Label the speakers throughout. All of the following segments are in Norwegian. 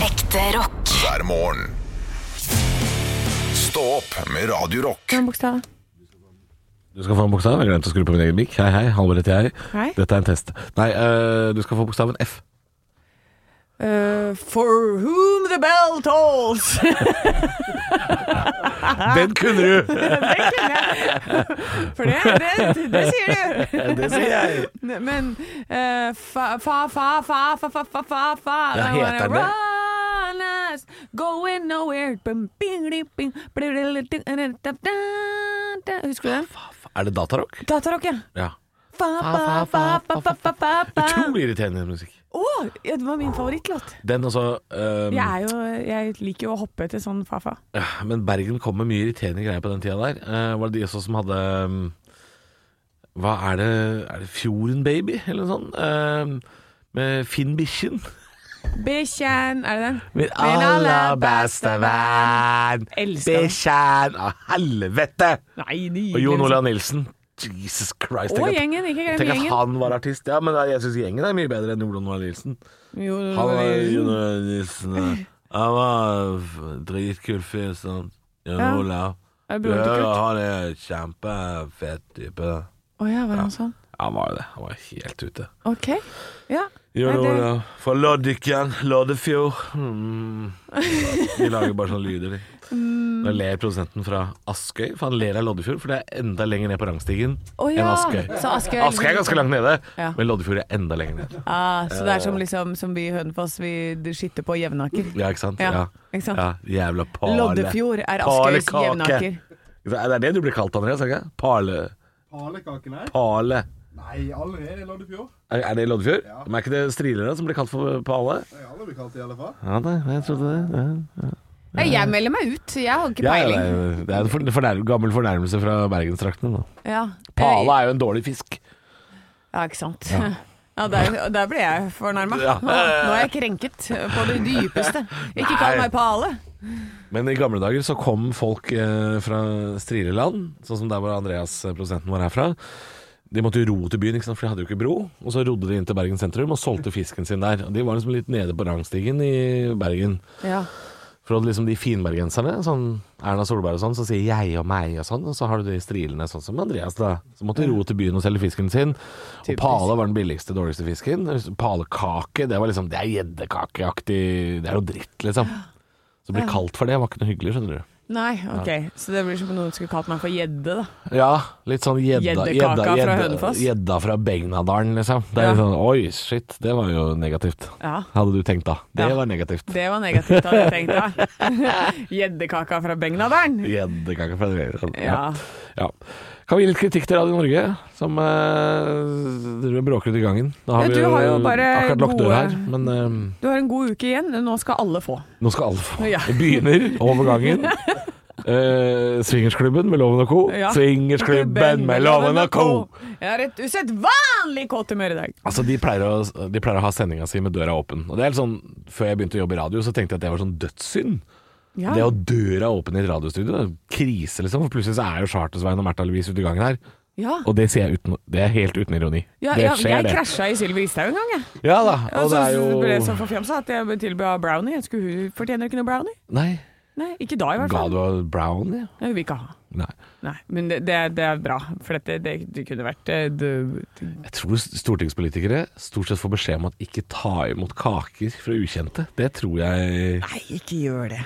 Speaker 1: Ekte rock.
Speaker 2: hver morgen. Stå opp med Radio Rock.
Speaker 3: Noen bokstaver.
Speaker 4: Du skal få en bokstav. Jeg glemte å skru på min egen mic. Hei, hei. Halvor heter jeg.
Speaker 3: Hei.
Speaker 4: Dette er en test. Nei, øh, du skal få bokstaven F.
Speaker 3: Eh, for whom the bell tolls. Ah.
Speaker 4: Den kunne du!
Speaker 3: For det, det, det sier du.
Speaker 4: Det sier jeg.
Speaker 3: Men eh, fa, fa, fa, fa, fa, fa, fa, fa, fa
Speaker 4: Ja,
Speaker 3: I
Speaker 4: heter
Speaker 3: wanna
Speaker 4: den det?
Speaker 3: run us, Going nowhere Bum, bing, di, bing, bli, bli, bli, di, da, da, da. Husker du den?
Speaker 4: Er det datarock?
Speaker 3: Datarock, ja.
Speaker 4: Ja.
Speaker 3: Fa, fa, fa, fa, fa, fa, fa, fa.
Speaker 4: Utrolig irriterende musikk.
Speaker 3: Å, ja, det var min favorittlåt.
Speaker 4: Den altså
Speaker 3: Jeg,
Speaker 4: øhm,
Speaker 3: er jo, jeg liker jo å hoppe til sånn fa-fa.
Speaker 4: øh, Men Bergen kom med mye irriterende greier på den tida der. Eh, var det de også som hadde øhm, Hva er det Er det Fjorden Baby, eller noe sånt? Øhm, med Finn Bikkjen.
Speaker 3: Bikkjen Er det den?
Speaker 4: Min
Speaker 3: aller beste
Speaker 4: venn,
Speaker 3: Elsker den.
Speaker 4: bikkjen av helvete!
Speaker 3: Nei, nydelig.
Speaker 4: Og Jon Olav Nilsen. Jesus Christ.
Speaker 3: Og
Speaker 4: tenk at-
Speaker 3: gjengen. Ikke glem
Speaker 4: Tenk at
Speaker 3: gjengen.
Speaker 4: han var artist. Ja, men jeg syns gjengen er mye bedre enn Jon Olav Nilsen.
Speaker 3: Jon
Speaker 4: Han var
Speaker 3: Olav Nilsen.
Speaker 4: Jon Olav Nilsen. eh, Han var f- dritkul fyr. Sånn. Jon
Speaker 3: Ja.
Speaker 4: Olav.
Speaker 3: Er det
Speaker 4: Ja,
Speaker 3: broren til Kurt?
Speaker 4: han er kjempefet type. da.
Speaker 3: Å ja, var han sånn?
Speaker 4: Han var jo det. Han var helt ute.
Speaker 3: Ok. Ja.
Speaker 4: Jon
Speaker 3: Nei, det-
Speaker 4: Olav fra Loddiken, Loddefjord. Mm. De lager bare sånne lyder, de.
Speaker 3: Mm.
Speaker 4: Nå ler produsenten fra Askøy, for han ler av Loddefjord, for det er enda lenger ned på rangstigen
Speaker 3: Å
Speaker 4: enn
Speaker 3: ja.
Speaker 4: Askøy.
Speaker 3: Så Askøy er-
Speaker 4: Askøy er ganske langt nede,
Speaker 3: Ja.
Speaker 4: men Loddefjord er enda lenger ned.
Speaker 3: Ah, så det er som, liksom, som vi i Hønefoss, vi skytter på Jevnaker.
Speaker 4: Ja, ikke sant?
Speaker 3: Ja, ikke sant?
Speaker 4: Ja, Mm. jævla pale.
Speaker 3: Loddefjord er Askøys
Speaker 4: Palekake.
Speaker 3: Jevnaker.
Speaker 4: Det er det du blir kalt, Andreas? Ikke? Pale.
Speaker 5: Halekaken her?
Speaker 4: Pale.
Speaker 5: Nei, allerede i Loddefjord.
Speaker 4: Er er det i Loddefjord? Men Er ikke det strilere som blir kalt for pale?
Speaker 5: Det har aldri blitt kalt det, i alle fall.
Speaker 4: Ja, nei, jeg trodde det. Ja.
Speaker 3: Nei, jeg melder meg ut, jeg har ikke
Speaker 4: Ja, ja,
Speaker 3: peiling.
Speaker 4: det er- det er en fornær- fornær- gammel fornærmelse fra bergenstraktene. da.
Speaker 3: Ja,
Speaker 4: Pale er jo en dårlig fisk.
Speaker 3: Ja, ikke sant. Ja, der, der ble jeg fornærma.
Speaker 4: Ja.
Speaker 3: Nå er jeg krenket på det dypeste. Ikke kall
Speaker 4: Nei.
Speaker 3: meg Pale.
Speaker 4: Men i gamle dager så kom folk eh, fra Strileland, sånn som der hvor Andreas, eh, produsenten vår, er fra. De måtte jo ro til byen, ikke sant? for de hadde jo ikke bro. Og så rodde de inn til Bergen sentrum og solgte fisken sin der. Og de var liksom litt nede på rangstigen i Bergen.
Speaker 3: Ja.
Speaker 4: For det er liksom de finbergenserne, sånn Erna Solberg og sånn, som sier jeg og meg og sånn. Og så har du de strilene, sånn som Andreas, da. Som måtte ro til byen og selge fisken sin. Og pale var den billigste, dårligste fisken. Palekake, det var liksom Det er gjeddekakeaktig Det er jo dritt, liksom. Så å bli kalt for det var ikke noe hyggelig, skjønner du.
Speaker 3: Nei, ok. Så det blir som om noen skulle kalt meg for gjedde, da.
Speaker 4: Ja, litt sånn gjedda
Speaker 3: Gjeddekaka
Speaker 4: gjedda-
Speaker 3: fra
Speaker 4: gjedda-
Speaker 3: Hønefoss.
Speaker 4: Gjedda fra Begnadalen, liksom. Det er
Speaker 3: Ja.
Speaker 4: litt sånn Oi, shit, det var jo negativt.
Speaker 3: Ja.
Speaker 4: Hadde du tenkt da. Det
Speaker 3: Ja.
Speaker 4: var negativt.
Speaker 3: Det var negativt, hadde jeg tenkt. da. Gjeddekaka fra Begnadalen.
Speaker 4: Gjeddekake fra Begnadalen.
Speaker 3: Ja.
Speaker 4: Ja. Kan vi gi litt kritikk til Radio Norge, som eh, driver og bråker ut i gangen? Da
Speaker 3: Ja, du har jo bare
Speaker 4: akkurat lukket
Speaker 3: gode-
Speaker 4: døra her, men eh,
Speaker 3: Du har en god uke igjen. Nå skal alle få.
Speaker 4: nå skal alle få
Speaker 3: Ja.
Speaker 4: Det begynner over gangen. Eh, swingersklubben med Loven og co.
Speaker 3: Ja.
Speaker 4: Swingersklubben med Loven og co.
Speaker 3: Jeg har et usedvanlig kåt humør i dag.
Speaker 4: Altså, de pleier, å, de pleier å ha sendinga si med døra åpen. Og det er litt sånn, Før jeg begynte å jobbe i radio, så tenkte jeg at det var sånn dødssynd.
Speaker 3: Ja.
Speaker 4: Det å ha døra åpen i et radiostudio, det er krise, liksom. For plutselig så er jo Charter-Svein og Märtha Louise ute i gangen her.
Speaker 3: ja.
Speaker 4: Og det sier jeg uten Det er helt uten ironi.
Speaker 3: Ja,
Speaker 4: det
Speaker 3: ja, jeg krasja i Sylvi Listhaug en gang, jeg.
Speaker 4: Ja da. Og
Speaker 3: så
Speaker 4: det er
Speaker 3: ble jeg sånn,
Speaker 4: jo
Speaker 3: så forfjamsa at jeg tilbød henne brownie. Jeg skulle, hun fortjener ikke noe brownie.
Speaker 4: Nei.
Speaker 3: Nei, ikke da i hvert
Speaker 4: Ga
Speaker 3: fall.
Speaker 4: du av brown, ja?
Speaker 3: Nei, hun vil ikke ha.
Speaker 4: Nei.
Speaker 3: Nei, men det, det, er, det er bra, for dette det, det kunne vært eh, det,
Speaker 4: Jeg tror stortingspolitikere stort sett får beskjed om at ikke ta imot kaker fra ukjente. Det tror jeg
Speaker 3: Nei, ikke gjør det.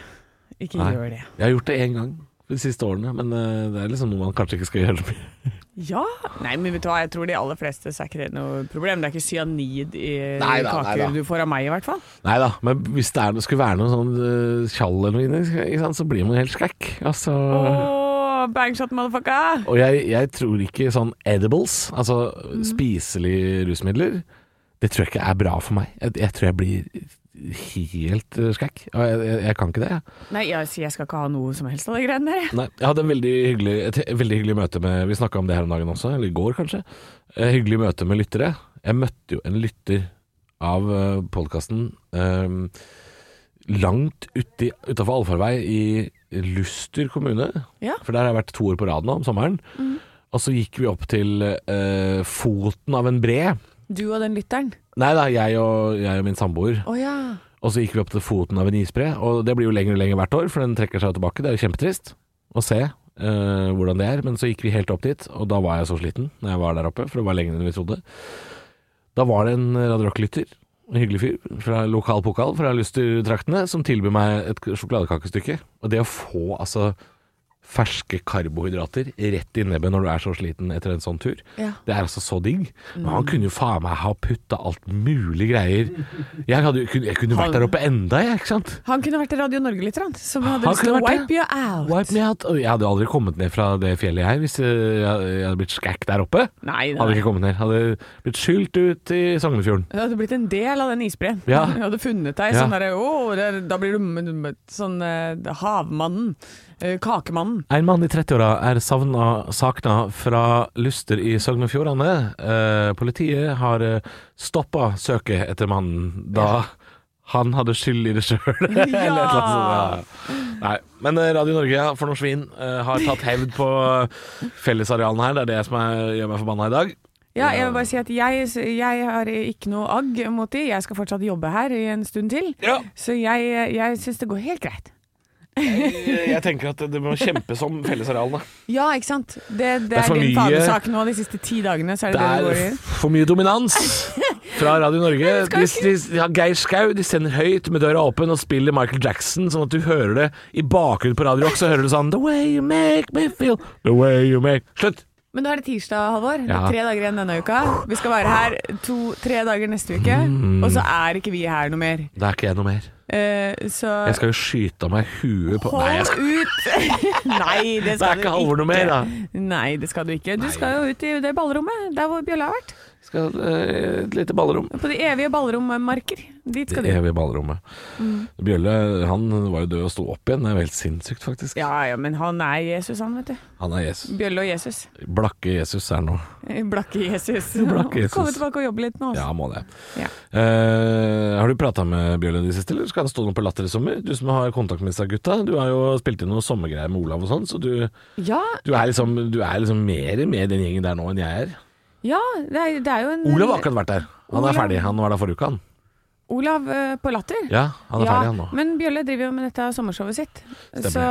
Speaker 3: Ikke
Speaker 4: Nei.
Speaker 3: gjør det.
Speaker 4: Jeg har gjort det én gang de siste årene, men eh, det er liksom noe man kanskje ikke skal gjøre så mye.
Speaker 3: Ja. Nei, men vet du hva, jeg tror de aller fleste så er ikke det noe problem. Det er ikke cyanid i
Speaker 4: Nei da, nei
Speaker 3: kaker
Speaker 4: da.
Speaker 3: du får av meg, i hvert fall.
Speaker 4: Nei da, men hvis det er, skulle være noe sånn eh, tjall eller noe inni, ikke sant, så blir man helt skrekk. Altså
Speaker 3: Åh, bangshot, motherfucker!
Speaker 4: Og jeg, jeg tror ikke sånn edibles, altså spiselige rusmidler, det tror jeg ikke er bra for meg. Jeg, jeg tror jeg blir helt eh, skrekk. Og jeg, jeg, jeg kan ikke det, jeg.
Speaker 3: Nei, jeg, sier jeg skal ikke ha noe som helst av de greiene der. jeg.
Speaker 4: Nei, jeg hadde en veldig hyggelig, et he- veldig hyggelig møte med Vi snakka om det her om dagen også, eller i går kanskje. Eh, hyggelig møte med lyttere. Jeg møtte jo en lytter av uh, podkasten langt uti, utafor allfarvei i Luster kommune.
Speaker 3: Ja.
Speaker 4: For der har jeg vært to år på rad nå om sommeren. Og så gikk vi opp til eh, foten av en bre.
Speaker 3: Du og den lytteren.
Speaker 4: Nei da, jeg og, jeg og min samboer.
Speaker 3: Å ja.
Speaker 4: Og så gikk vi opp til foten av en isbre, og det blir jo lenger og lenger hvert år, for den trekker seg jo tilbake. Det er jo kjempetrist å se eh, hvordan det er. Men så gikk vi helt opp dit, og da var jeg så sliten når jeg var der oppe, for det var lenger enn vi trodde. Da var det en Radio Rock-lytter, en hyggelig fyr fra lokal pokal fra Luster-traktene, som tilbød meg et sjokoladekakestykke. Og det å få altså ferske karbohydrater rett i nebbet når du er så sliten etter en sånn tur,
Speaker 3: Ja.
Speaker 4: det er altså så digg. Men han kunne jo faen meg ha putta alt mulig greier. Jeg, hadde, jo- kunne- jeg kunne vært der oppe enda, jeg, ikke sant?
Speaker 3: Han kunne vært i Radio Norge litt, sant? som
Speaker 4: Han
Speaker 3: hadde lyst til
Speaker 4: kunne
Speaker 3: å
Speaker 4: vært det.
Speaker 3: wipe you out.
Speaker 4: Wipe me out. Og Jeg hadde jo aldri kommet ned fra det fjellet her hvis eh, jeg jeg hadde blitt skækk der oppe.
Speaker 3: Nei, nei.
Speaker 4: Hadde ikke kommet ned. Hadde blitt skylt ut i Sognefjorden.
Speaker 3: Du hadde blitt en del av den isbreen.
Speaker 4: Ja.
Speaker 3: Du hadde funnet deg
Speaker 4: Ja.
Speaker 3: sånn derre Å, der, da blir du m- m- sånn eh, havmannen. eh, kakemannen.
Speaker 4: En mann i 30-åra er savna, sakna fra Luster i Sogn og Fjordane. Eh, politiet har eh, stoppa søket etter mannen da han hadde skyld i det sjøl. Eller et eller annet sånt, ja. Nei. Men eh, Radio Norge ja, for noe svin eh, har tatt hevd på fellesarealene her. Det er det som er, gjør meg forbanna i dag.
Speaker 3: Ja, jeg vil bare si at jeg, jeg har ikke noe agg mot de. Jeg skal fortsatt jobbe her i en stund til.
Speaker 4: Ja.
Speaker 3: Så jeg, jeg syns det går helt greit.
Speaker 4: Jeg jeg tenker at det må kjempes om fellesarealene.
Speaker 3: Ja, ikke sant. Det, det,
Speaker 4: er
Speaker 3: er,
Speaker 4: for
Speaker 3: din
Speaker 4: mye-
Speaker 3: fanesak nå de siste ti dagene. Så er det det, det
Speaker 4: Det
Speaker 3: går i.
Speaker 4: er for mye dominans fra Radio Norge. De,
Speaker 3: skal
Speaker 4: de, ja, Geir Skau de sender høyt med døra åpen og spiller Michael Jackson, sånn at du hører det i bakgrunnen på Radio Rock. Så hører du sånn The way you make me feel, the way you make Slutt!
Speaker 3: Men nå er det tirsdag, Halvor. Det
Speaker 4: Ja.
Speaker 3: er tre dager igjen denne uka. Vi skal være her to-tre dager neste uke.
Speaker 4: Mm.
Speaker 3: Og så er ikke vi her noe mer.
Speaker 4: Det er ikke jeg noe mer.
Speaker 3: Eh, så
Speaker 4: Jeg skal jo skyte av meg huet på Nei, jeg
Speaker 3: hold
Speaker 4: skal,
Speaker 3: ut! Nei, det
Speaker 4: det
Speaker 3: skal du
Speaker 4: er ikke Halvor noe mer, da.
Speaker 3: Nei, det skal du ikke. Du skal jo ut i det ballrommet, der hvor bjølla har vært.
Speaker 4: Skal eh, et lite ballrom.
Speaker 3: På de evige ballrommarker. Dit skal
Speaker 4: Det
Speaker 3: du.
Speaker 4: evige ballrommet. Mm. Bjølle han var jo død og sto opp igjen. Det er jo helt sinnssykt, faktisk.
Speaker 3: Ja ja, men han er Jesus, han, vet du.
Speaker 4: Han er Jesus.
Speaker 3: Bjølle og Jesus.
Speaker 4: Mm. Blakke Jesus er nå.
Speaker 3: Eh, Blakke Jesus.
Speaker 4: Blakke Jesus.
Speaker 3: Komme tilbake og jobbe litt nå. altså.
Speaker 4: Ja, må det.
Speaker 3: Ja.
Speaker 4: Eh, har du prata med Bjørn i det siste, eller skal han stå noe på Latter i sommer? Du som har kontakt med disse gutta. Du har jo spilt inn noen sommergreier med Olav og sånn, så du,
Speaker 3: Ja,
Speaker 4: du, er liksom, du er liksom mer med den gjengen der nå enn jeg er.
Speaker 3: ja det, er, det er jo en
Speaker 4: Olav har akkurat vært der. Han
Speaker 3: Olav-
Speaker 4: er ferdig. Han var der forrige uke, han.
Speaker 3: Olav eh, på Latter.
Speaker 4: Ja, han er ferdig, han nå.
Speaker 3: Men Bjølle driver jo med dette sommershowet sitt,
Speaker 4: Stemmer.
Speaker 3: så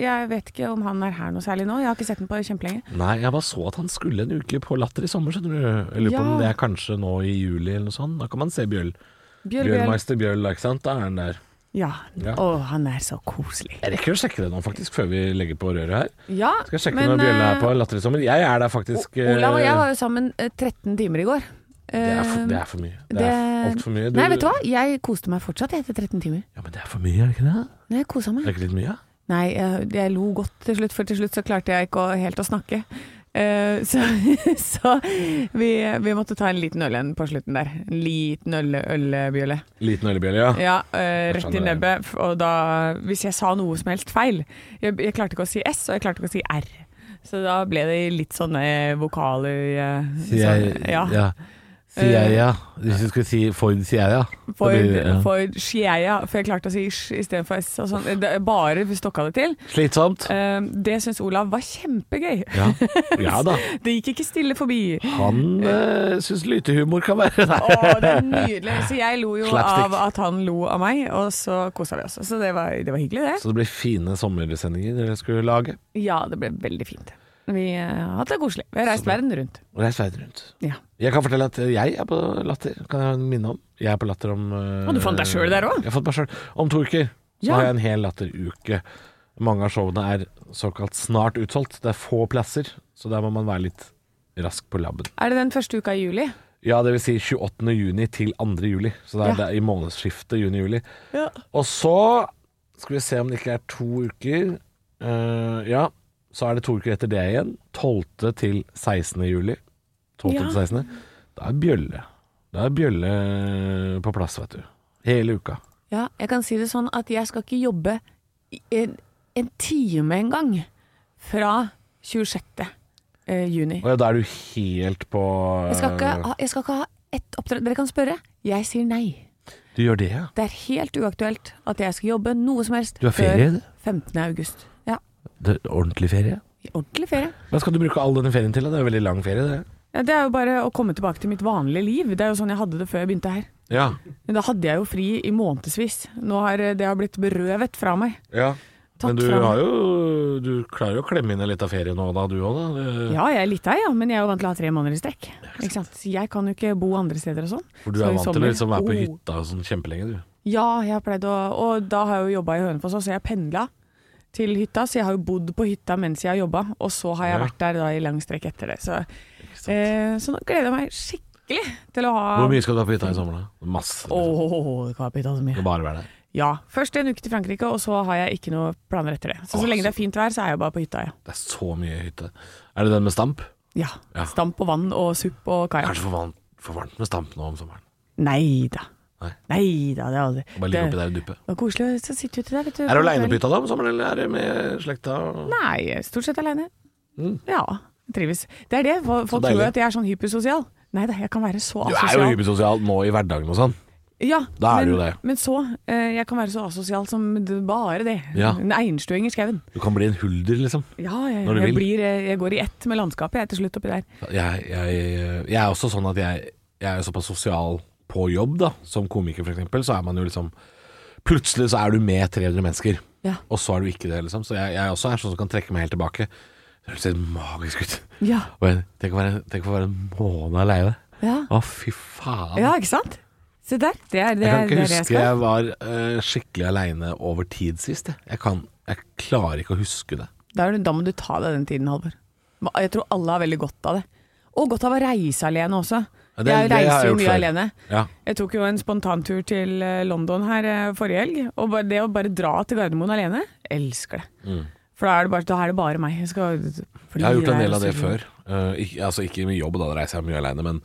Speaker 3: jeg vet ikke om han er her noe særlig nå. Jeg har ikke sett den på kjempelenge.
Speaker 4: Nei, jeg bare så at han skulle en uke på Latter i sommer, skjønner du. Jeg lurer
Speaker 3: Ja.
Speaker 4: på om det er kanskje nå i juli eller noe sånt. Da kan man se Bjøll.
Speaker 3: Bjøll, Bjøll.
Speaker 4: Bjørnmeister Bjøll, ikke sant. Da er han der.
Speaker 3: Ja.
Speaker 4: Ja.
Speaker 3: Å, han er så koselig.
Speaker 4: Jeg rekker å sjekke det nå, faktisk, før vi legger på røret her.
Speaker 3: Ja,
Speaker 4: Skal jeg sjekke
Speaker 3: men,
Speaker 4: når Bjølle er
Speaker 3: eh,
Speaker 4: på Latter i sommer. Jeg er der faktisk eh,
Speaker 3: Olav og jeg var jo sammen eh, 13 timer i går.
Speaker 4: Det er for, det er for mye. Det, er altfor mye.
Speaker 3: Eh, Nei, vet du hva? Jeg koste meg fortsatt jeg, etter 13 timer.
Speaker 4: Ja, men det er for mye, er det ikke det?
Speaker 3: Nei, jeg koset
Speaker 4: Er
Speaker 3: meg.
Speaker 4: det ikke litt mye?
Speaker 3: Nei, jeg, jeg lo godt til slutt, for til slutt så klarte jeg ikke å, helt å snakke. Eh, så så vi, vi måtte ta en liten øl igjen på slutten der. En liten øl, ølbjølle.
Speaker 4: Liten ølbjelle, ja.
Speaker 3: Ja, eh, rett i
Speaker 4: skjønner det.
Speaker 3: nebbet. f- Og da, hvis jeg sa noe som helst feil jeg, jeg klarte ikke å si S, og jeg klarte ikke å si R. Så da ble det litt sånne vokaler eh, sånn, Ja. Eh.
Speaker 4: Sier jeg ja. Hvis du skulle si Ford, sier jeg ja. Da blir det,
Speaker 3: For,
Speaker 4: ja.
Speaker 3: for Shieia, for jeg klarte å si Sh istedenfor S. Og sånn. det, bare stokka det til.
Speaker 4: Slitsomt.
Speaker 3: Eh, det syns Olav var kjempegøy.
Speaker 4: Ja. ja da.
Speaker 3: Det gikk ikke stille forbi.
Speaker 4: Han øh, syns lytehumor kan være der.
Speaker 3: Å, det er nydelig. Så jeg lo jo
Speaker 4: Slapstick.
Speaker 3: av at han lo av meg, og så kosa vi oss. Så det var, det var hyggelig, det.
Speaker 4: Så det blir fine sommersendinger dere skulle lage.
Speaker 3: Ja, det ble veldig fint. Vi eh, har hatt det koselig. Vi har reist verden rundt.
Speaker 4: Og reis verden rundt.
Speaker 3: Ja.
Speaker 4: Jeg kan fortelle at jeg er på Latter, kan jeg minne om. Jeg er på Latter om øh,
Speaker 3: Og du fant deg selv der også?
Speaker 4: Jeg har fått meg sjøl. Om to uker så
Speaker 3: Ja.
Speaker 4: har jeg en hel latteruke. Mange av showene er såkalt snart utsolgt. Det er få plasser, så der må man være litt rask på labben.
Speaker 3: Er det den første uka i juli?
Speaker 4: Ja, det vil si 28. juni til 2. juli. Så det er, det er i månedsskiftet juni-juli.
Speaker 3: Ja.
Speaker 4: Og så skal vi se om det ikke er to uker. Eh, ja, så er det to uker etter det igjen. 12. til 16. juli. 12.
Speaker 3: Ja.
Speaker 4: til 16. Da er Bjølle. Da er Bjølle på plass, vet du. Hele uka.
Speaker 3: Ja, jeg kan si det sånn at jeg skal ikke jobbe i en, en time engang fra 26. eh, juni.
Speaker 4: Og ja, da er du helt på eh,
Speaker 3: Jeg skal ikke ha, jeg skal ikke ha ett oppdrag. Dere kan spørre. Jeg sier nei.
Speaker 4: Du gjør det, ja?
Speaker 3: Det er helt uaktuelt at jeg skal jobbe noe som helst
Speaker 4: Du har ferie? du.
Speaker 3: før 15. august. Ja,
Speaker 4: Det er ordentlig ferie?
Speaker 3: ordentlig ferie.
Speaker 4: Hva skal du bruke all denne ferien til? da? Det er jo veldig lang ferie, det.
Speaker 3: Ja, det er jo bare å komme tilbake til mitt vanlige liv. Det er jo sånn jeg hadde det før jeg begynte her.
Speaker 4: Ja.
Speaker 3: Men da hadde jeg jo fri i månedsvis. Nå har eh, det har blitt berøvet fra meg.
Speaker 4: ja.
Speaker 3: Tatt
Speaker 4: Men du
Speaker 3: fra meg.
Speaker 4: har jo Du klarer jo å klemme inn en liten ferie nå da, du òg, da. Det-
Speaker 3: Ja, jeg er litt deg, ja, men jeg er jo vant til å ha tre måneder i strekk. Ikke sant? Så Jeg kan jo ikke bo andre steder og sånn.
Speaker 4: For du
Speaker 3: Så
Speaker 4: er
Speaker 3: i
Speaker 4: vant til å
Speaker 3: sommer-
Speaker 4: liksom være på
Speaker 3: Oh.
Speaker 4: hytta og sånn kjempelenge, du.
Speaker 3: Ja, jeg har pleid å Og da har jeg jo jobba i Hønefoss, også, så jeg pendla til hytta. Så jeg har jo bodd på hytta mens jeg har jobba, og så har jeg
Speaker 4: Ja.
Speaker 3: vært der da i lang strekk etter det. Så,
Speaker 4: Ikke sant?
Speaker 3: eh, så nå gleder jeg meg skikkelig til å ha
Speaker 4: Hvor mye skal du ha på hytta i sommer, da? Masse.
Speaker 3: Mm. Åh,
Speaker 4: Liksom.
Speaker 3: det kan jeg bytte av så mye.
Speaker 4: Skal bare være der.
Speaker 3: Ja. Først en uke til Frankrike, og så har jeg ikke noen planer etter det. Så
Speaker 4: Åh,
Speaker 3: så
Speaker 4: så-
Speaker 3: lenge det er fint vær, så er jeg jo bare på hytta, ja.
Speaker 4: Det er så mye hytte. Er det den med stamp?
Speaker 3: Ja.
Speaker 4: Ja.
Speaker 3: Stamp og vann og supp og kajakk.
Speaker 4: Kanskje for varmt, for varmt med stamp nå om sommeren.
Speaker 3: Nei da.
Speaker 4: Nei.
Speaker 3: Nei da, det er aldri
Speaker 4: Bare ligge oppi der og duppe.
Speaker 3: Det var koselig å så sitte ute der, vet du.
Speaker 4: Er du aleine på hytta da om sommeren, eller er du med slekta? og-
Speaker 3: Nei, jeg er stort sett aleine.
Speaker 4: Mm.
Speaker 3: Ja, jeg trives. Det er det, folk folk
Speaker 4: deilig.
Speaker 3: tror at jeg er sånn hypersosial. Nei da, jeg kan være så
Speaker 4: Du
Speaker 3: asosial.
Speaker 4: er jo hypersosial nå i hverdagen og sånn.
Speaker 3: Ja,
Speaker 4: Da er
Speaker 3: men,
Speaker 4: du jo det.
Speaker 3: Men så, eh, jeg kan være så asosial som det- bare det.
Speaker 4: Ja.
Speaker 3: En einstuing i skauen.
Speaker 4: Du kan bli en hulder, liksom.
Speaker 3: Ja, jeg,
Speaker 4: Når du
Speaker 3: jeg,
Speaker 4: vil.
Speaker 3: blir, eh, jeg går i ett med landskapet jeg er til slutt oppi der.
Speaker 4: Jeg, jeg, jeg er også sånn at jeg, jeg er såpass sosial på jobb, da. Som komiker, for eksempel, så er man jo liksom Plutselig så er du med 300 mennesker,
Speaker 3: Ja.
Speaker 4: og så er du ikke det, liksom. Så jeg, jeg også er sånn som kan trekke meg helt tilbake. Det høres helt magisk ut.
Speaker 3: Ja,
Speaker 4: Og jeg, tenk, å være, tenk å være en måned aleine.
Speaker 3: ja.
Speaker 4: Å, fy faen.
Speaker 3: ja ikke sant? Se der. Det er det
Speaker 4: jeg kan
Speaker 3: er-
Speaker 4: ikke
Speaker 3: det er det
Speaker 4: huske
Speaker 3: skal.
Speaker 4: jeg var eh, skikkelig aleine over tid sist. Jeg, jeg, kan, jeg klarer ikke å huske det.
Speaker 3: Da, er det, da må du ta deg den tiden, Halvor. Ma- Jeg tror alle har veldig godt av det. Og godt av å reise alene også.
Speaker 4: Ja, det-
Speaker 3: jeg
Speaker 4: det har jeg
Speaker 3: reiser jo
Speaker 4: gjort
Speaker 3: mye
Speaker 4: før.
Speaker 3: alene.
Speaker 4: Ja.
Speaker 3: Jeg tok jo en spontantur til eh, London her eh, forrige helg. Og bare, det å bare dra til Gardermoen alene, elsker det.
Speaker 4: Mm.
Speaker 3: For da er det bare, da er det bare meg. Jeg, skal fly
Speaker 4: Jeg har gjort en
Speaker 3: der,
Speaker 4: del av det
Speaker 3: så-
Speaker 4: før. Eh, ikke, altså ikke med jobb, da da reiser jeg mye aleine, men,